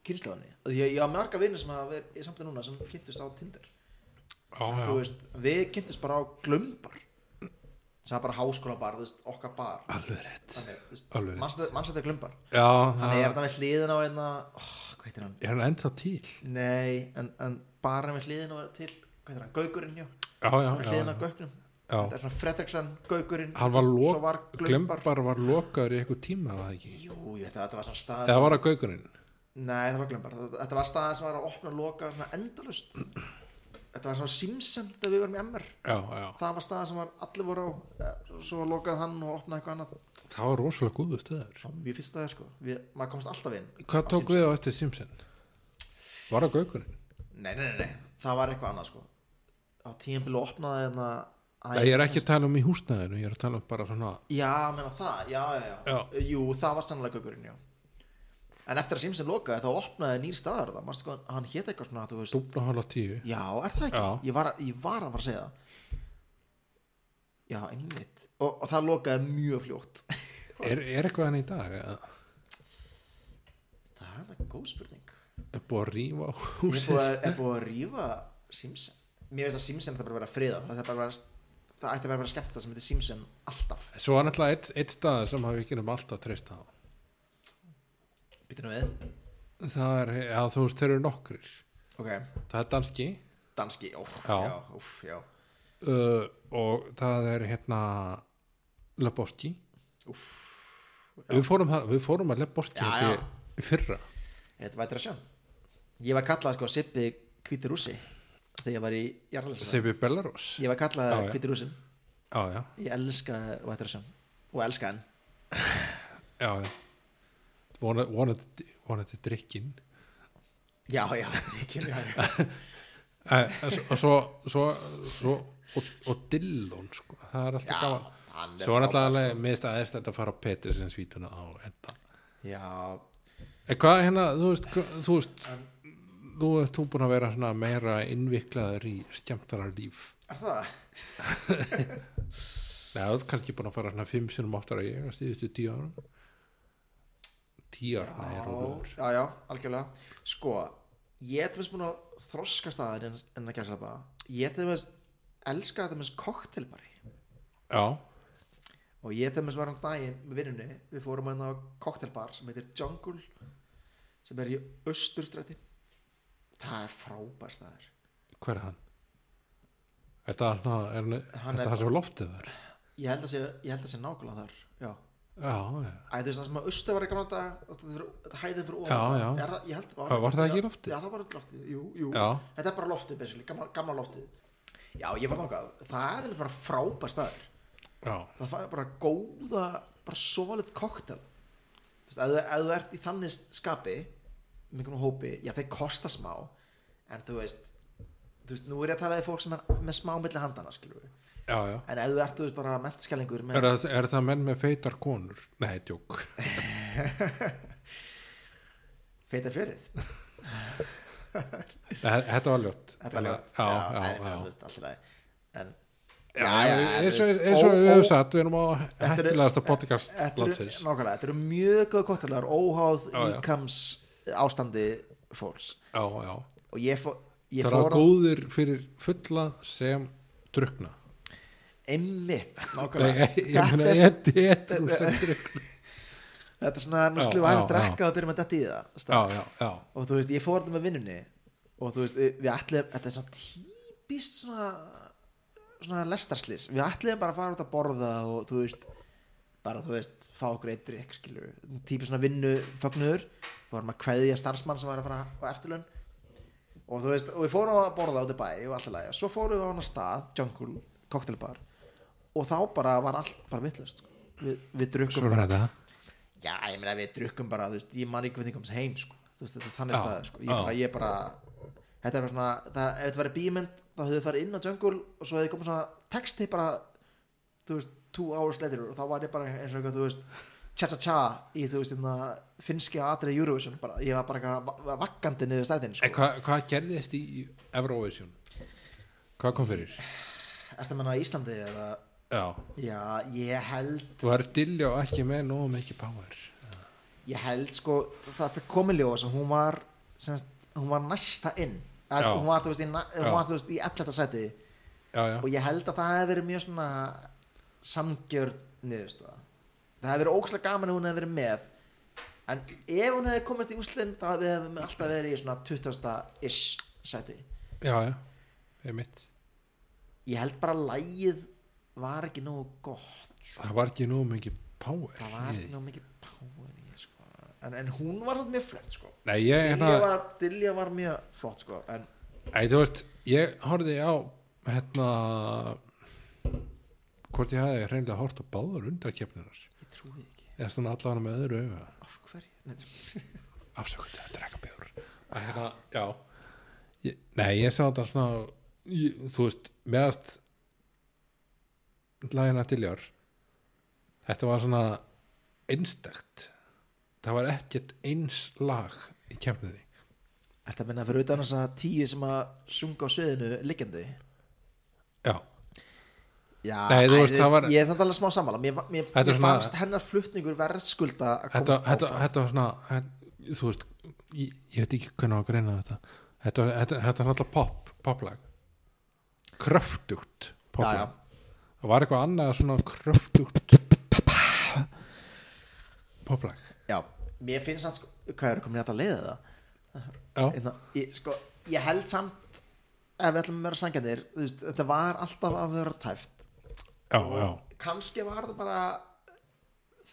B: kynnslóðinni Því ég, ég á marga vinnir sem hafa verið í samtli núna sem kynntust á Tinder
A: Já,
B: Þú
A: já,
B: veist, Við kynntust bara á glömbar sem er bara háskóla bar, þú veist, okkar bar
A: alveg rétt
B: þannig, þú veist,
A: Alveg rétt.
B: mannsættu glumbar
A: já,
B: þannig er hérna.
A: það-
B: þetta með hliðin á einna oh, hvað heitir hann?
A: er hann ennþá til
B: Nei, en, en bara með hliðin á til, hvað heitir hann? Gaugurinn, já,
A: já, já,
B: með
A: já,
B: hliðin á
A: já,
B: Gauknum þetta
A: já.
B: er svona Fredriksson, Gaugurinn
A: hann var,
B: svo
A: lok,
B: var glumbar,
A: glembar var lokaður í eitthvað tíma var það ekki,
B: jú, ég, þetta, þetta var svona stað
A: eða var það gaukurinn
B: Nei, það var glömbar. Þetta þetta var staðið sem var að opna og loka svona endalust. Þetta var svona Simpson þegar við varum í MR.
A: já, já,
B: Það var staðið sem var allir voru á, eh, svo lokaði hann og opnaði eitthvað annað.
A: það var rosalega góðu stöður
B: Það var mjög fyrst staðið sko. Við, maður komst alltaf inn.
A: hvað
B: á
A: tók við á eftir Simpson var það gaukurinn
B: Simpson. Nei, nei, nei, nei. Það var eitthvað annað sko. Á tíðanbílu opnaði hérna...
A: Nei, ég er ekki að tala um í húsnæðinu, ég er að tala um bara svona
B: Já, menna það. Já, já, já.
A: Já.
B: Jú, það var sannlega gökurinn, já. En eftir að Simpson lokaði þá opnaði nýr staðar það. Manstu hvað, hann hét eitthvað svona, þú veist,
A: dúfna hálf á tíu
B: Já, er það ekki?
A: Já.
B: Ég var, að- ég var að fara að segja það Já, einmitt og, og það lokaði mjög fljótt
A: er, er eitthvað hann í dag? eða?
B: Það er þetta góð spurning
A: Er búið að rífa á
B: Er
A: húsið?
B: búið, að- er búið að rífa Simpson Mér finnst að Simpson það bara að vera friða Það, er bara að vera, það ætti bara að vera skemmt það sem heitir Simpson alltaf
A: Svo var náttúrulega eitt, eitt stað sem hafi ekki um alltaf treyst á
B: Býtum við
A: Það er, já þú veist, þeir eru nokkrir
B: Ok,
A: Það er danski
B: danski, ó, já,
A: Já.
B: já, úf, já
A: uh, og það er hérna Leboski við fórum, þar- við fórum að Leboski
B: Já,
A: já, já. fyrra
B: Þetta vætir að sjá Ég var kallað sko Sippi Hvíti Rússi Þegar ég var í Jarlins
A: sem við Belarus
B: Ég var kallað
A: Já, já.
B: Hvíti Rússin
A: Já, já,
B: Ég elska Vætir að sjá Og elska hann
A: já, já. Vona- vonandi vonandi drikkin
B: Já, já, Ríkir, já, já.
A: Eh, og svo, svo, svo og, og Dillon sko. það er alltaf
B: Já, hann
A: gaman
B: er
A: svo er alltaf
B: frábær, sko.
A: alveg mist aðeins þetta að fara á Petersen svítuna á enda
B: já
A: en hvað er hérna, þú veist hva- þú veist, þú ert þú búin að vera svona meira innviklaður í skemmtara líf
B: er það?
A: Nei, þú ert kannski búin að fara svona fimm sinum áttar að ég að stíðustu tíu árum tíu árum, nei, rólegur
B: Já, já, algjörlega Sko, ég er til þess búin að þroska staðar en, en að gæsa bara Ég er til þess elska þetta með koktelbari
A: já,
B: og ég til þess var hann daginn með vinnunni við fórum hann á koktelbar sem heitir Jungle sem er í Östurstræti Það er frábær staðar
A: hver er hann? Þetta er svona, er, hann-
B: Hann
A: þetta
B: er-
A: er það sem loftið var
B: Ég held að sé, ég held að sé nákvæmlega þar Já
A: já, já
B: Æ, þú veist það sem að austur var í gamla daga og þetta fyrir- þetta hæðin fyrir ofan
A: Já,
B: það.
A: já.
B: Er það, ég held,
A: Já, var það ekki
B: já,
A: loftið?
B: Já, það var ekki loftið, jú, jú
A: Já.
B: Þetta er bara loftið, basically, gamla, gamla loftið Já, ég var þangað, það er nefnilega bara frábær staður
A: já,
B: Það fæði bara góða, bara solid koktel Þú veist, ef þú- ef þú ert í þannig skapi með einhvern hópi, já þeir kosta smá en þú veist þú veist, nú er ég að tala í fólk sem er með smá milli handana, skilur við,
A: já, já.
B: en ef þú ert þú veist, bara menntskælingur með
A: Er það, er það menn með feitar konur? Nei, tjók.
B: feita fjörið
A: Þetta var ljótt.
B: þetta var ljótt
A: Já,
B: en
A: já,
B: ég meina, þú
A: já.
B: veist, allt í lagi. en
A: já,
B: Já, já,
A: já.
B: þú
A: Eins
B: veist,
A: og- eins og
B: ó-
A: við höfum
B: ó-
A: sagt, við erum á
B: þetta eru- e-
A: hættilegasta podcast
B: þetta eru-
A: landsins.
B: nákvæmlega, þetta eru mjög góð kottilegar óháð
A: Já, já.
B: íkams ástandi fólks
A: Já, já.
B: og ég, fó, ég
A: Það eru
B: fór á
A: góðir fyrir fulla sem drukna.
B: einmitt
A: Nei, ég
B: nákvæmlega.
A: ég meina,
B: er-
A: ég þetta er sem drukna.
B: þetta er svona, nú
A: Já,
B: skulum
A: já,
B: við
A: já.
B: að drekka og byrjum að detta í það
A: Já,
B: stað.
A: já, já.
B: og þú veist, ég fór þetta með vinnunni og þú veist, við ætlum þetta er svona típist svona svona lestarslýs, við ætlum bara að fara út að borða og þú veist bara þú veist, fá okkur eitt drikk skilur við, típist svona vinnu fögnuður vorum að kveðja starfsmann sem var að fara á eftirlaun og þú veist, og við fórum að borða út í bæ og allt í lagi, svo fórum við á hana stað Jungle, cocktailbar og þá bara var allt bara vittlust sko. við, við drukkum
A: Svo er þetta.
B: Já, ég meina við drukkum bara, þú veist, ég man ekki hvernig ég komst heim, sko, þú veist, þetta er þannig
A: Já,
B: staði, sko, ég
A: já.
B: bara, ég bara, þetta er bara svona, það, ef þetta verið bímynd, þá höfðu farið inn á jungle og svo hefði komið svona texti bara, þú veist, two hours later og þá var ég bara eins og eitthvað, þú veist, tja-tja-tja í, þú veist, hérna, finski atrið Eurovision, bara, ég var bara eitthvað va- vaggandi niður stæðin,
A: En
B: sko,
A: hvað hvað gerðist í Eurovision? Hvað kom fyrir?
B: ertu að menna Íslandi eða,
A: Já.
B: já, ég held,
A: Þú er dilljá ekki með nóg mikið power.
B: ég held sko það, það komi ljós að hún var semst, hún var næsta inn Eða,
A: Já.
B: sko, hún var þú veist í, na- hún
A: Já.
B: var, þú veist, í 11. seti
A: Já, já.
B: og ég held að það hefði verið mjög svona samgjörn niðurstaða það hefði verið ókslega gaman ef hún hefði verið með en ef hún hefði komist í úslinn þá hefði við alltaf verið í svona 20 ish seti
A: já, já, ég mitt
B: ég held bara að lægið var ekki nógu gott sko.
A: það var ekki nóg mikið power
B: það var
A: í
B: ekki
A: því.
B: nógu mikið power í, því, sko. en, en hún var samt mjög flott sko.
A: nei, ég, hérna,
B: Dilja, var, Dilja var mjög flott sko. en
A: Æ, þú veist, ég horfði á hérna hvort ég hafði hreinlega hort á báðar undarkeppninar
B: ég trúi því ekki
A: eða svona allavega með öðru auga
B: af hverju Nei, sko.
A: afsökundi að drekka bjór að hérna, já ég, nei, ég sá þetta svona ég, þú veist, meðast lagina til jár þetta var svona einstakt það var ekkert eins lag í keppninni
B: Ertu að minna fyrir utan þess að tíu sem að sunga á sviðinu liggjandi?
A: já,
B: Já,
A: Nei, þú
B: æ,
A: veist, það var-
B: ég er samt alveg smá sammála Mér, va- mér,
A: Þetta er
B: mér
A: svona-
B: fannst hennar flutningur verðskulda að
A: þetta,
B: komast
A: þetta,
B: áfram
A: þetta var svona en, þú veist, ég, ég veit ekki hvernig á að greina þetta þetta, var- þetta, þetta er alltaf pop, poplag kröftugt
B: Já,
A: poplag
B: já.
A: það var eitthvað annað svona kröftugt poplag
B: Já, mér finnst hann sko, hvað er komin í þetta leiðið það?
A: já,
B: Einna, ég, sko, ég held samt ef við ætlum að vera sangjarnir þú veist, þetta var alltaf að vera tæft
A: já, já,
B: kannski var þetta bara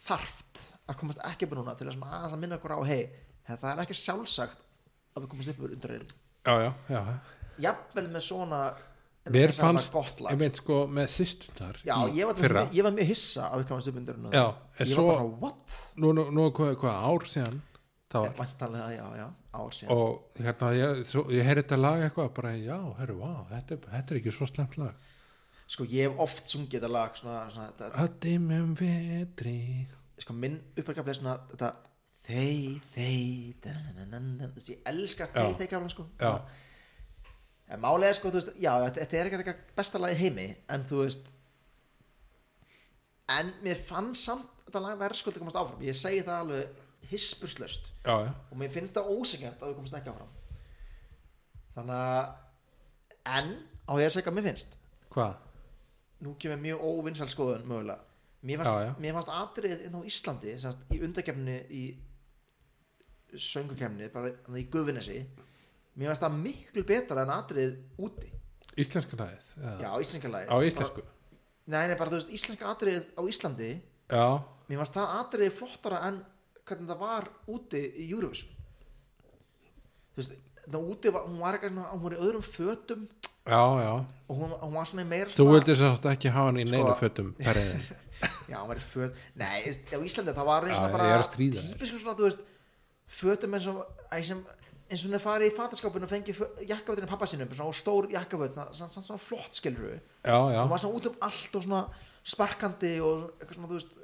B: þarft að komast ekki upp úr núna til að svona aðeins að minna okkur á hei, það er ekki sjálfsagt að við komast upp úr undir einu
A: já, já, já.
B: jafnvel með svona en
A: mér
B: þess að það var
A: fannst,
B: gott lag
A: ég veit sko með sýstunar
B: já, ég var,
A: fyrra,
B: mjög, ég var mjög hissa á ykkur hans uppundurinn
A: Já, en
B: ég
A: svo-
B: var bara, what?
A: nú, nú, nú er hvað, hvað ár síðan það var
B: vantanlega, já, já, ár síðan
A: og hérna, ég, svo, ég heyri þetta lag eitthvað bara, já, herru, vá, þetta, er- þetta er ekki svo slemt lag
B: sko, ég hef oft sungið þetta lag svona, svona, þetta,
A: Að dimmum vetri
B: sko, minn uppverkeflega svona, þetta þey, þey danananana, þú veist, ég elska þey,
A: Já.
B: þey kaflan, sko
A: Já,
B: en málega, sko, þú veist, já, þetta- þetta er ekki eitthvað besta lag í heimi, en þú veist en mér fann samt þetta lag verðskuldi komast áfram ég segi það alveg hispurslaust
A: já, já,
B: og mér finnst það ósengjant að við komumst ekki áfram þannig að en á ég að segja hvað mér finnst
A: hvað?
B: nú kemur mjög óvinnsal skoðun mögulega mér fannst,
A: Já, já.
B: Mér fannst atrið inn á Íslandi semast, í undakefni í söngukefni bara þarna í gufinesi mér fannst það miklu betra en atrið úti
A: Íslenska lagið? eða?
B: já, íslenskjalagi
A: Á íslensku?
B: nei, nei, bara þú veist, íslenska atrið á Íslandi
A: Já,
B: mér fannst það atrið flottara en hvernig það var úti í Eurovision þú veist það úti, var, hún var eitthvað svona hún var í öðrum fötum
A: já, já
B: og hún, hún var svona í meira
A: Þú
B: svona
A: vildir sérst ekki hafa hann í neinu
B: Sko-
A: fötum perriðin
B: já, hún var í föt nei, þú veist, á Íslandi það var eins og
A: Já,
B: bara
A: ég er að stríða þér.
B: típisku svona, þú veist fötum eins og æ, sem, eins og hún er farið í fataskápun og fengið fö- jakkafötinu pappa sinum svona og stór jakkaföt, svona, svona, svona, svona flott skilur við
A: Já, já,
B: hún var svona út um allt og svona sparkandi og eitthvað svona, þú veist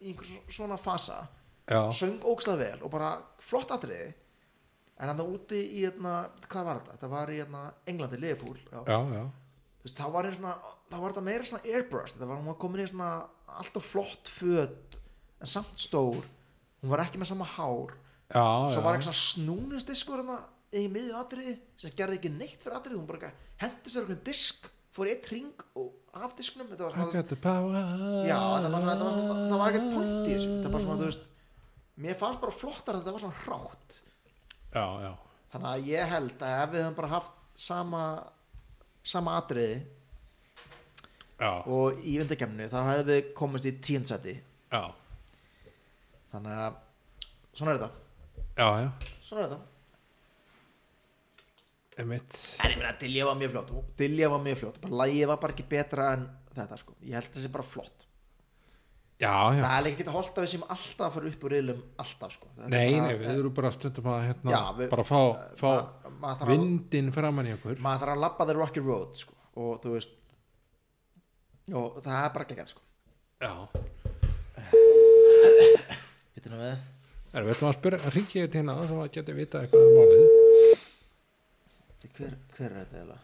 B: í einhver svona fasa
A: já,
B: söng ógslag vel og bara flott atriði en hann það úti í hérna, hvað var þetta? Þetta var í hérna, Englandi, Liverpool já.
A: já, já
B: Þú veist, þá var, ég svona, þá var þetta meira svona airbrush þetta var hún var komin í svona alltaf flott föt en samt stór hún var ekki með sama hár
A: Já,
B: svo
A: já,
B: var eitthvað svona snúningsdiskur hérna í miðju atriði sem gerði ekki neitt fyrir atriði hún bara ekki hendi sér einhvern disk fór í eitt ring og af disknum þetta
A: I
B: var svona
A: got the power
B: Já, það var, svona, það var, svona, það var
A: Ah.
B: ekkert punkt í þessu Það var svona, þú veist Mér fannst bara flottar að þetta var svona hrátt
A: Já, já,
B: Þannig að ég held að ef við höfum bara haft sama sama atriði
A: já,
B: og í undarkemnu þá hefðum við komist í tíundsæti
A: já,
B: Þannig að svona er þetta
A: já, já
B: Svona er þetta
A: Emitt
B: En ég meina, Dilja var mjög fljótt Dilja var mjög fljótt bara Lægið var bara ekki betra en þetta sko Ég held þessi bara flott
A: Já, já
B: Það er ekki að holta við sem alltaf að fara upp úr reilum alltaf sko Þetta er
A: Nei,
B: bara-
A: nei, við erum bara stundum að hérna
B: Já, við-
A: bara fá, fá
B: Ma- maður þarf að-
A: vindin framan í okkur
B: maður þarf að labba the rocky road sko, og þú veist og það er bara ekki sko.
A: Já
B: Bíddu nú við.
A: Erum við ætlum að spyrja, ringi ég til hérna sem að geti vita eitthvað um málið
B: Bíddu, hver, hver er þetta eiginlega?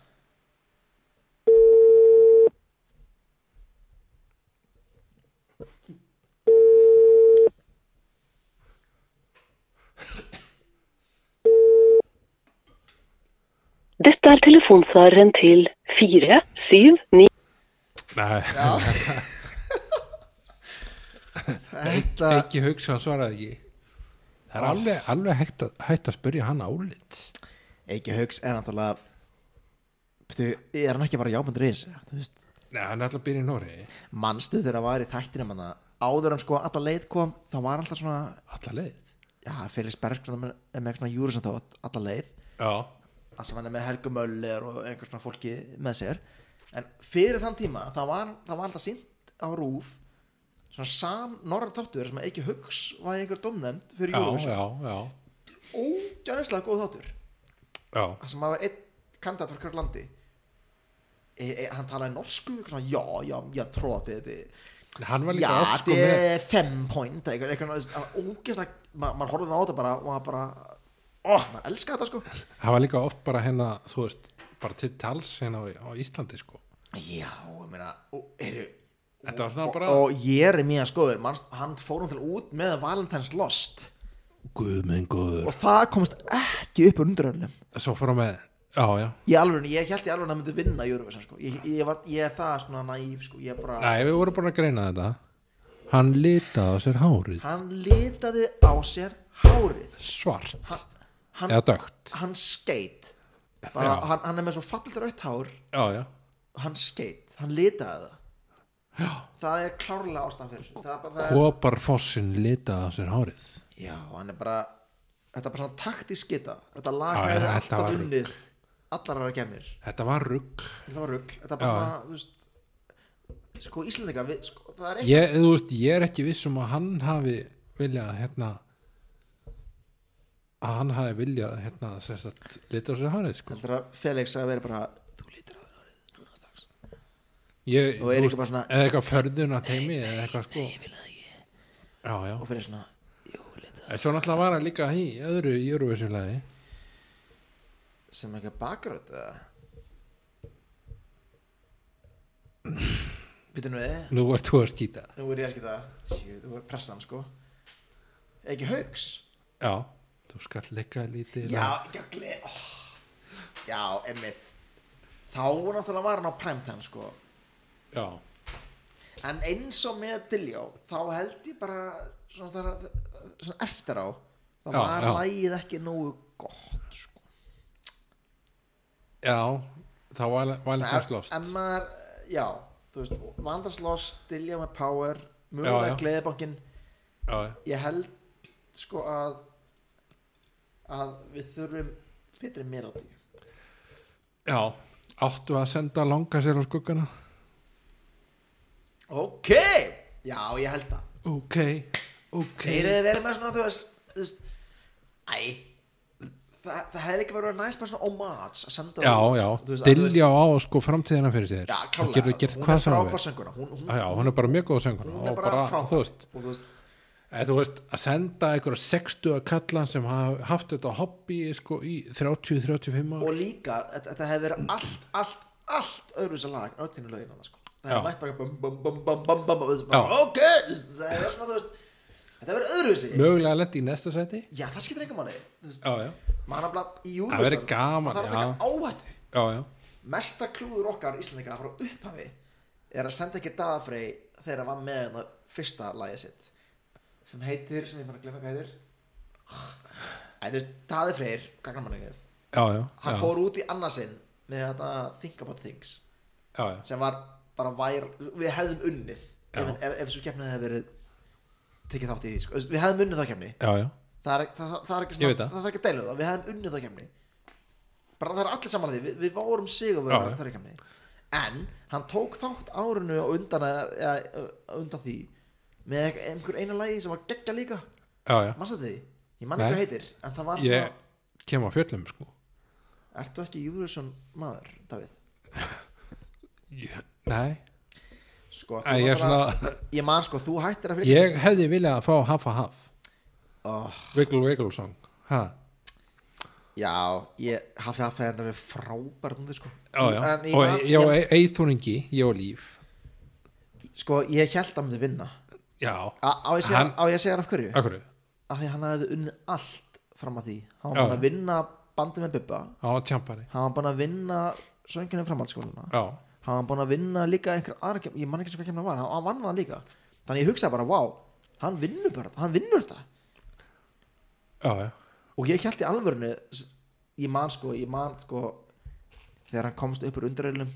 D: Dette er telefonsvareren til 479.
A: Nei,
B: Þetta
A: ekki hugsa, hann svaraði ekki það
B: Ah.
A: er alveg, alveg hægt, að, hægt að spyrja hann álit
B: Eiki Hauks er náttúrulega Þú, er hann ekki bara jábundur í þessu Þú veist,
A: Nei, hann er alltaf að byrja í Nóri
B: manstu þegar að var í þættinum hann áður en sko alla leið kom þá var alltaf svona,
A: Alla leið
B: já, Felix Berg svona, með- er með svona júrisum þá alla leið
A: Já,
B: það sem hann er með Helgu Möller og einhvers svona fólki með sér en fyrir þann tíma, það var, það var alltaf sínt á rúf svona sam norra þáttur sem Eiki Hauks var einhver domnefnd fyrir
A: já,
B: júrisum
A: já, já,
B: ógæðslega góð þáttur
A: já.
B: það sem hafa einn kandidat frá hverju landi e, e, hann talaði norsku eitthvað svona, já, já, já, tróði þetta
A: Hann var
B: já,
A: líka oft sko
B: þetta
A: með
B: er fem point eitthvað, eitthvað, eitthvað ógeðslega ma, maður horfði á þetta bara og maður bara, oh, maður elska þetta sko
A: Hann var líka oft bara hérna, þú veist bara til tals hérna á, á Íslandi sko
B: já, ég meina og, eru,
A: Þetta var svona bara
B: og, og ég er mjög skoður manst, hann fór hún til út með Valentine's Lost
A: Guð minn góður
B: og það komst ekki upp úr unduröðunum
A: Svo fór hann með, já, já
B: ég alveg, ég held ég alveg að hann myndi vinna Eurovision sko, ég, ég, var, ég er það svona næf sko, ég er bara
A: Nei, við vorum búin að greina þetta Hann litaði á sér hárið
B: hann litaði á sér hárið
A: svart
B: hann, hann,
A: eða dögt
B: hann skeit
A: Já.
B: bara, hann, hann er með svo fallit rautt hár
A: Já, já,
B: hann skeit, hann litaði það já. það er klárlega ástæðan fyrir þessu. það er bara, það er,
A: Koparfossin litaði á sér hárið
B: já, hann er bara þetta er bara svona taktísk geta þetta
A: Já,
B: lag
A: já, þetta
B: hefði
A: var
B: alltaf
A: rugl.
B: unnið allar aðra kemur,
A: Þetta var rugg
B: þetta var rugg þetta er
A: Já.
B: bara svona, þú veist sko Íslandika, við, sko, það er ekki
A: ég, þú veist, ég er ekki viss um að hann hafi viljað hérna að hann hafi viljað hérna sem sagt, lita á sér hárið sko.
B: heldur að Felix að vera bara þú lítir á þér árið núna strax
A: ég,
B: Og
A: þú
B: er ekki
A: veist,
B: bara svona-
A: eða eitthvað förðuna teimi eða eitthvað sko já, já,
B: og fyrir svona, jú, litaði
A: en svo náttúrulega var hann líka í öðru í Eurovision-lagi
B: sem eitthvað bakröð Býtu nú við
A: nú var þú að skýta
B: Nú er ég ekki það Tjú, þú er pressan sko Ekki haugs
A: já, þú skall leika lítið
B: Já, ekki að gleð oh. Já, emmitt Þá náttúrulega var hann á primetime sko
A: já,
B: En eins og með Dilljó Þá held ég bara Svona, þar, svona eftir á Það
A: Já,
B: var
A: já.
B: lagið ekki nógu gott sko
A: já þá var, var líka
B: Ef-
A: slóst
B: ef maður, já, þú veist, vandarslost, dilja með power
A: Já,
B: mögulega
A: já.
B: gleðibankin
A: já, já.
B: ég held sko að að við þurfum betri mér á því
A: já, áttu að senda langa sér á skuggana
B: ok, já, ég held það
A: ok, ok
B: þeir hefði verið með svona, þú veist, þú veist æ það, það hefði ekki verið næst bara svona homage að senda
A: já,
B: það út,
A: já,
B: þú veist, að þú veist-
A: dilja á sko framtíðina fyrir sér
B: já,
A: hún getur
B: klálega,
A: gert
B: hún
A: hvað
B: er
A: sem hún
B: frábær
A: vil
B: sönguna hún, hún,
A: já, já, hún er bara mjög góð sönguna
B: hún er
A: og
B: bara, frábær
A: þú veist,
B: og þú veist,
A: eða, þú veist að senda einhverja 60 að kalla sem hafa haft þetta hobby sko í 30-35 ár
B: og líka þetta, þetta hefði verið allt, allt, allt öðruvísa lag öllinu lögin annars sko það
A: Já.
B: hefði mætt bara bum, bum, bum, bum, bum, bum, og þú veist bara,
A: Já.
B: ok, það hefði verið svona þú veist þetta hefði verið öðruvísi
A: mögulega lendi í næsta seti
B: já það skiptir enga máli þú veist,
A: já, já,
B: maður er bara í
A: Það
B: júruvísan
A: verið gaman,
B: það er
A: já.
B: ekki áhættu
A: já, já,
B: mesta klúður okkar íslendinga frá upphafi er að senda ekki daðafrey þegar hann var með hérna fyrsta lagið sitt sem heitir, sem ég bara glemma hvað heitir Æ, þú veist, Daði Freyr, gagnamanningið,
A: já, já,
B: hann
A: já,
B: fór út í annarsinn með þetta Think About Things
A: já, já.
B: sem var bara vær við hefðum unnið
A: Já.
B: ef, ef, ef svo kemnið hefði verið tekið þátt í því sko. Þú veist, við hefðum unnið þá kemni
A: já, já.
B: það er, það, það, það er ekki
A: Ég veit
B: svona,
A: það.
B: það. er ekki að deila um það við hefðum unnið þá kemni bara það er allir saman að því við, við vorum
A: Já,
B: sigurverðar
A: já.
B: þar kemni en hann tók þátt árinu og undan, að- eða, að- undan því með einhver- einhver einu lagi sem var geggja líka
A: já, já.
B: mannstu því, ég manna
A: Nei.
B: hvað heitir en það var
A: ég kem á fjöllum sko
B: svona, ertu ekki Júriðsson maður, Davíð
A: ég, nei,
B: sko, þú
A: Æ, ég er
B: náttúrulega-
A: svona-
B: ég man sko, þú hættir að fylgja
A: ég hefði viljað að fá half a half
B: oh.
A: wiggle wiggle song ha.
B: Já, ég hafði að fæða þetta við frábært núna sko.
A: já, já,
B: En ég,
A: og
B: man-
A: ég
B: ég,
A: og eithúringi, ég og líf
B: Sko, ég held að myndi vinna
A: já,
B: Á á ég að segja-
A: Hann-
B: á ég að segja þér af hverju?
A: akkur á
B: Af því hann hefði unnið allt fram að því Hann var
A: Já.
B: búin að vinna bandið með Bubba
A: tjampari
B: Hann var búin að vinna sönginu framhaldsskóluna
A: já,
B: Hann var búin að vinna líka einhver aðra kemna Ég man ekki svo hvað kemna var, hann hann vann það líka Þannig ég hugsaði bara, vá, hann vinnur bara, hann vinnur þetta
A: já, já,
B: og ég held í alvörinu ég man sko, ég man sko þegar hann komst upp úr undirreilum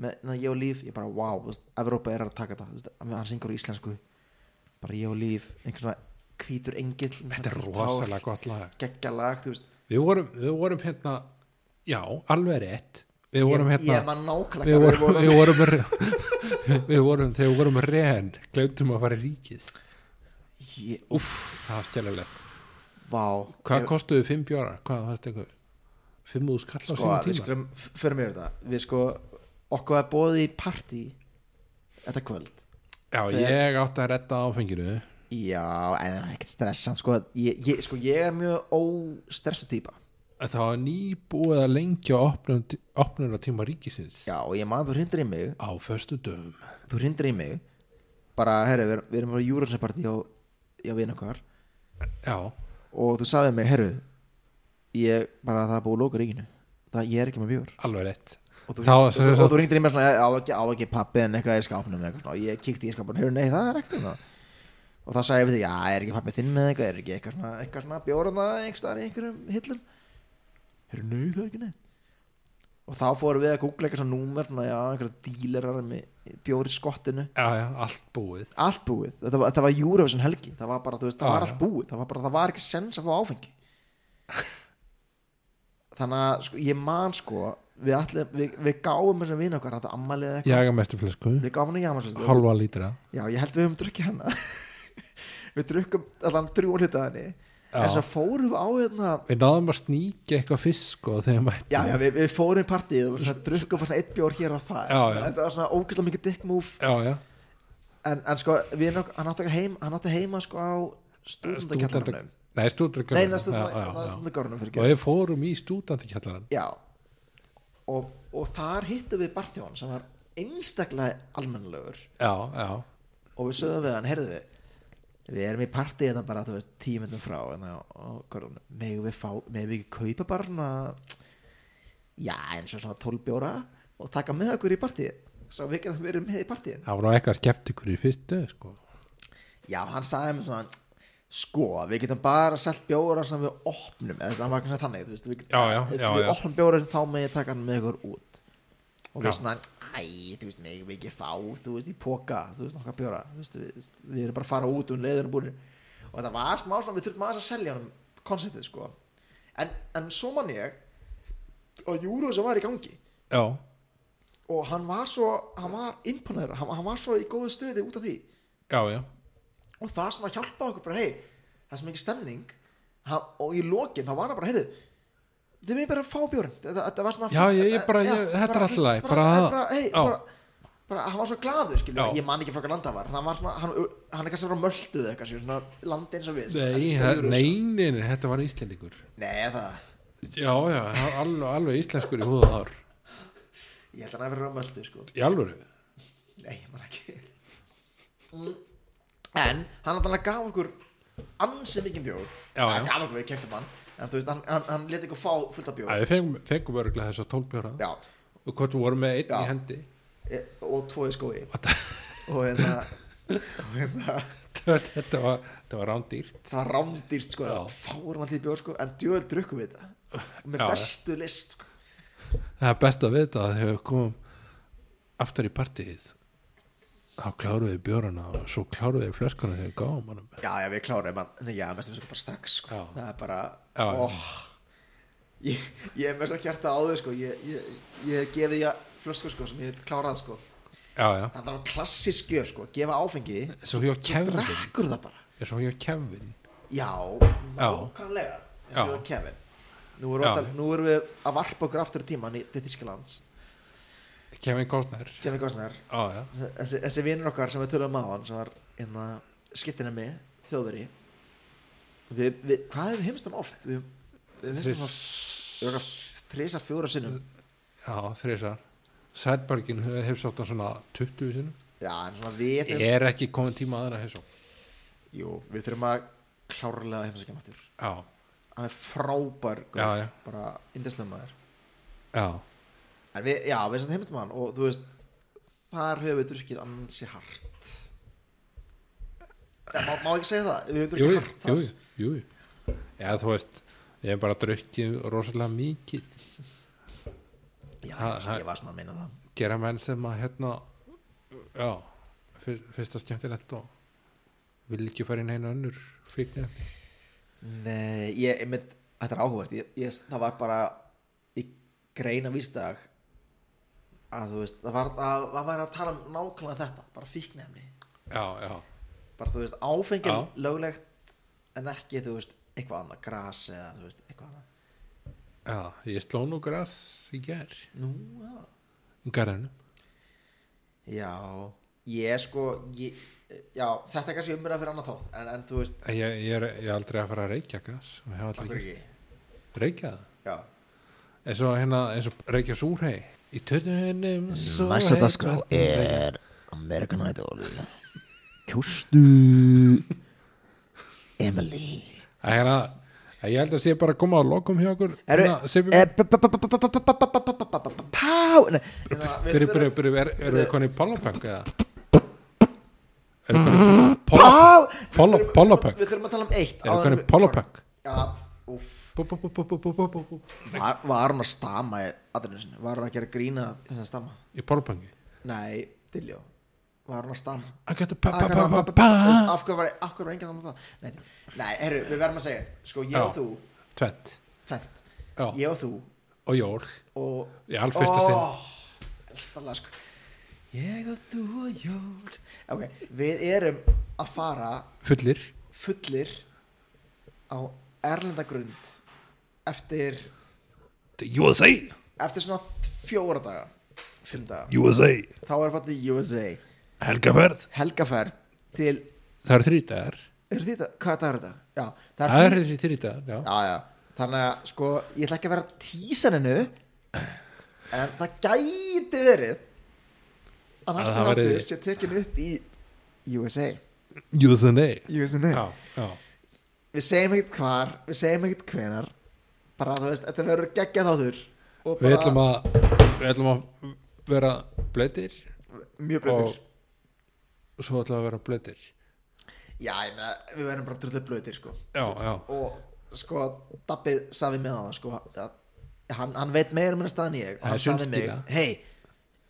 B: með na, ég og líf, ég bara wow þú veist, Evrópa er að taka þetta, þú veist, hann syngur á íslensku bara ég og líf einhvern svona hvítur engill
A: þetta er rosalega gott lag
B: geggjalag, þú veist
A: við vorum, við vorum hérna já, alveg rétt við vorum
B: ég, ég
A: hérna
B: man nákvæmlega
A: við
B: hvað
A: vorum, við vorum, við vorum þegar við vorum reyn, glemtum að fara í ríkið
B: ég,
A: Úff, það var stjælulegt
B: vá
A: Hvað
B: Ég-
A: kostuðu fimm bjóra? Hvað var þetta einhver? Fimm úr skall á
B: sko,
A: sínum
B: við
A: tíma?
B: skulum fyrir mér þetta við sko, okkur var bóðið í partí þetta kvöld
A: Já, ég átti að redda áfenginu
B: já, en það er ekkert stressan sko, ég, ég, sko, ég er mjög óstressu típa
A: En Það var nýbúið að lengja opnuna tíma ríkisins
B: já, og ég man þú hrindir í mig
A: á föstu dögum
B: þú hrindir í mig bara, herru, við, við erum á júrunsepartí á, á vinn okkar
A: Já,
B: og þú sagði mig, herru ég, bara það er búið að lóka ríkinu það, ég er ekki með bjór
A: alveg rétt
B: og þú,
A: Þá-
B: og,
A: sem
B: þú,
A: sagt-
B: og þú ringdir í mér svona á ekki, á ekki pappi en eitthvað í skápnum eitthvað, svona, og ég kíkti í skápnum, hefur nei það er ekkert það og það sagði ég við því, já er ekki pappi þinn með eitthvað er ekki eitthvað svona, eitthvað svona bjóraða einhverstaðar í einhverjum hillum hefur nei það er ekki neitt og þá fórum við að googla eitthvað svona númer svona, já, einhverja dílerar með bjóri skottinu
A: Já, já, allt búið
B: allt búið, þetta var, þetta var Eurovision helgi það var bara, þú veist, það
A: Já,
B: var
A: já.
B: allt búið það var bara, það var ekki sens að fá áfengi þannig að sko, ég man sko við, allir, við, við gáum þessum vinn okkar þetta ammalið eða eitthvað,
A: Jaga mestu flösku,
B: við gáum hann í jamaslistu
A: halva lítra
B: já, ég held við höfum drukkið hana við drukkum allan drjón hluta henni
A: Já.
B: en svo fórum við á hérna
A: Við náðum að sníkja eitthvað fisk og þegar mættum
B: já, já, við, við fórum í partíð og svona, drukkum bara svona eitt bjór hér og það
A: Já, já.
B: þetta var svona ógeðslega mikið dick move
A: já, já.
B: en, en sko, við, hann átti heima, hann átti heima sko á stúdendakjallarnum
A: Nei, stúdendakjallarinn
B: Nei, það
A: Já, já, já.
B: stundu gárunum fyrir
A: Og
B: ekki
A: við fórum í stúdendakjallarinn
B: Já og, og þar hittum við barþjón sem var einstaklega almennlegur
A: Já, já,
B: og við sögðum við hann, heyrðu við við erum í partí þetta bara, þú veist, tímundum frá hérna en það, og hverjum, megum við fá megum við ekki kaupa bara svona já, eins og svona 12 bjóra og taka með okkur í partí svo við getum verið með í partíin
A: það var nú eitthvað skeptikur í fyrstu sko.
B: já, hann sagði mér svona sko, við getum bara selt bjóra sem við opnum, eða þess að hann var kannski þannig þú veist, við,
A: Já, já,
B: þú veist,
A: já,
B: við
A: já.
B: opnum bjóra sem þá með ég taka hann með ykkur út og
A: Já.
B: við svona, æ, þú veist, megum við ekki fá þú veist, í póka, þú veist, nokkað bjóra þú veist, við, veist, við erum bara að fara út um leiður og búin og þetta var smá svona, við þurftum aðeins að selja hann konceptið, sko en, en svo man ég og Júru sem var í gangi
A: Já,
B: og hann var svo, hann var imponaður, hann, hann var svo í góðu stöði út af því
A: já, já
B: og það sem að hjálpa okkur bara hei, það er sem ekki stemning ha, og í lokin þá var hann bara, heyrðu þið með bara að fá bjórn þetta, þetta var svona
A: Já, ég- ég bara- ég- þetta er allt í lagi,
B: bara,
A: bara-
B: bara, bara, hey,
A: já.
B: bara, bara, hann var svo glaður skilur,
A: Já.
B: ég man ekki frá hvað landa var hann, var svona, hann, hann er kannski frá mölduð eða eitthvað skilur, svona land eins og við sem
A: Nei,
B: elskar
A: það-
B: Eurovision.
A: nei, nei, nei, þetta var íslendingur
B: nei, það,
A: Já, já, hann- alveg, alveg íslenskur í húða þar
B: ég held að hann að vera frá möldu sko.
A: Í alvöru
B: nei, ég man ekki Mm. en hann hann gaf okkur ansi mikið bjór
A: Já, já.
B: hann gaf okkur við keftum hann en þú veist, hann, hann, hann leti okkur fá fullt af bjór
A: Æ, við fengum, fengum örgulega þess að tólbjóra
B: já,
A: Og hvort við vorum með einn
B: Já.
A: í hendi
B: e- og tvo í skói
A: Og það-
B: og hérna og hérna
A: Þetta var, þetta var rándýrt
B: það var rándýrt sko,
A: Já.
B: fárum allir bjór sko en djöðl drukkum við þetta með
A: Já, já.
B: bestu list sko.
A: Það er best að vita að þegar við komum aftur í partíið þá kláruðu við bjórana og svo kláruðu við flöskana þegar við gáum hann
B: já, já, við klárum að, nei, já, mestum við sko bara strax sko,
A: Já.
B: það er bara,
A: Já, já.
B: óh ég, ég er með svo kjarta á þau sko ég, ég, ég gefið ég flösku sko sem ég hef klárað sko
A: Já, já,
B: það var klassisk gjöf sko, gefa áfengi
A: svo hjá Kevin
B: drekkur það bara
A: Svo hjá Kevin
B: Já, nákvæmlega eins og
A: Já.
B: við Kevin nú erum,
A: Já.
B: óttal, nú erum við að varpa okkur aftur í tíman í til Þísklands
A: Kevin Kostner
B: Kevin Costner,
A: Já, já,
B: þessi, þessi vinur okkar sem við tölum á hann sem var hérna, skittina mig, þjóðveri við, við, hvað hefum heimst hann oft? við, við heimst hann oft þrýsa fjóra sinnum
A: já þrísar Sætbergin hefði sátt hann svona 20 sinum
B: já, en svona við höfum-
A: Er ekki komin tíma aðra hefði
B: jú, við þurfum að klárlega heimsækja hann aftur
A: Já,
B: hann er frábær gaur,
A: Já, já.
B: bara indislega maður
A: já
B: En við, já, við sem heimstum hann og þú veist, þar höfum við drukkið ansi hart Já, má, má ekki segja það Við
A: jú,
B: veitum
A: jú,
B: ekki hart
A: jú,
B: þar
A: jú, jú. eða þú veist ég hef bara drukkið rosalega mikið
B: Já,
A: Ha- ha-
B: ég var svona að meina það
A: gera menn sem að hérna já, fyr, fyrsta skemmtilegt og vil ekki fara inn einu önnur fyrir
B: Nei, ég, einmitt, þetta er áhugavert ég, ég, Það var bara í greina vísdag að þú veist, það var, að, það var að tala um nákvæmlega þetta, bara fíknefni
A: já, já,
B: bara þú veist, áfengi
A: Já.
B: löglegt en ekki, þú veist, eitthvað annað gras eða, þú veist, eitthvað annað
A: já ég sló nú græs í ger
B: Nú, já
A: í garðinu
B: Já, ég sko ég, já, þetta er kannski umræða fyrir annað þátt en, en þú veist,
A: ég, ég, er, ég er aldrei að fara að reykja græs og hef aldrei
B: okkur
A: ekki
B: ekki
A: reykja það
B: Já,
A: eins og hérna, eins og reykja súrhei í törnunum
D: Næsta
A: súrhei,
D: dagskrá
A: hvernig-
D: er American Idol Kjóstu Emily
A: Það er að að hérna, Ég held að sé bara að koma á lokum hjá okkur
B: Eru-
A: Hérna, Sibbi-
B: Eh, b- b- b- b- b- b- b- b- b- b- b- b- b- b- Pá Nei, hérna, við
A: Byrju, byrju,
B: þurfum-
A: byrju, er- eru þið konni í Pollopunk eða? Eru þið konni
B: Pá! Við
A: Polo-
B: þurfum-
A: Polopunk.
B: Við þurfum að tala um eitt áður en
A: í
B: við-
A: Pollopunk?
B: Já, úff
A: Bú, bú, bú, bú, bú, bú, bú, bú, bú.
B: Var var hún að stama í aðrinu sinni? Var hún að gera grína þess að stama?
A: Í Pollopunki
B: Nei, Diljó Var hún að stama?
A: I got the
B: Ah,
A: pa pa pa pa
B: hvað-
A: pa
B: Af hverju var- af hverju var enginn að um það? Nei, nei, herru, við verðum að segja Sko, ég
A: Já.
B: og þú,
A: Tvent
B: tvent
A: Já,
B: Ég og þú
A: og jól
B: og
A: Í allfyrsta sinn
B: Elstallega sko Ég og þú og jól Ok, við erum að fara
A: Fullir
B: fullir á erlendagrund eftir,
A: USA
B: eftir svona fjóra daga fimm daga,
A: USA
B: þá er fallið USA
A: Helgaferð
B: helgaferð til,
A: Það eru þrítagar
B: eru þetta, hvað dagur er þetta? Já, það
A: Það
B: er
A: eru þrítagar, já
B: já, já. þannig að sko ég ætla ekki að vera að tísa hennu en það gæti verið að
A: Að
B: næsta
A: það verði-
B: þáttur sé tekin upp í USA,
A: USA
B: USA.
A: Já, já
B: við segjum ekkert hvar við segjum ekkert hvenar bara þú veist, þetta verður geggjað þáttur og
A: Við ætlum að Við ætlum að vera blöytir
B: mjög blöður
A: Og svo ætlum við að vera blöytir
B: já, ég meina, við verðum bara drullu blöðir sko.
A: Já,
B: Þú veist,
A: já.
B: og sko, Dabbi safi með það sko, að, hann, hann veit meira um hennar staðan en ég og
A: Það er
B: hann safi mig,
A: sundskýla.
B: hei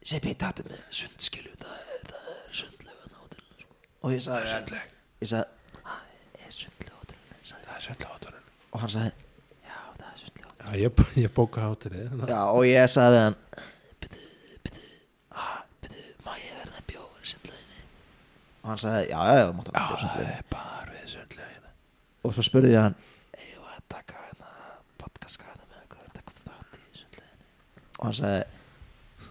B: Seppi, tattu með sundskilu það, er- það er sundlega náttúrulega sko. og ég sagði við hann, ég sagði,
A: Það er sjöndlega átunum
B: og hann sagði
A: Já, ég, ég bóka hátilið þannig að-
B: já, og ég sagði við hann ah,
D: Má ég verða að bjóða sindlaðinni?
B: og hann sagði, já, já, já, mátt hann bjóða sundlaug."
D: er bara við sindlaðinni
B: og svo spurði ég hann
D: Ég var að taka hérna podcastgræna með okkur og taka upp þátt í sindlaðinni
B: og hann sagði,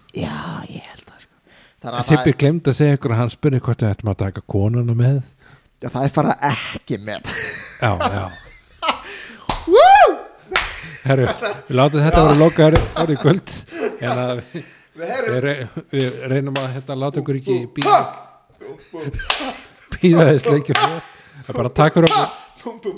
D: Já, ég held það sko
B: þannig að
A: Sibbi
B: það,
A: glemd að segja ykkur að hann spurði hvort við ættum að taka konuna með
B: já, það er fara ekki með
A: Já, já Herru, við látum þetta vera loka orðið í kvöld en að við,
B: við heyrjum
A: við, re, við reynum að hérna, láta ykkur ekki býða býða þess leikir það er bara takk fyrir okkur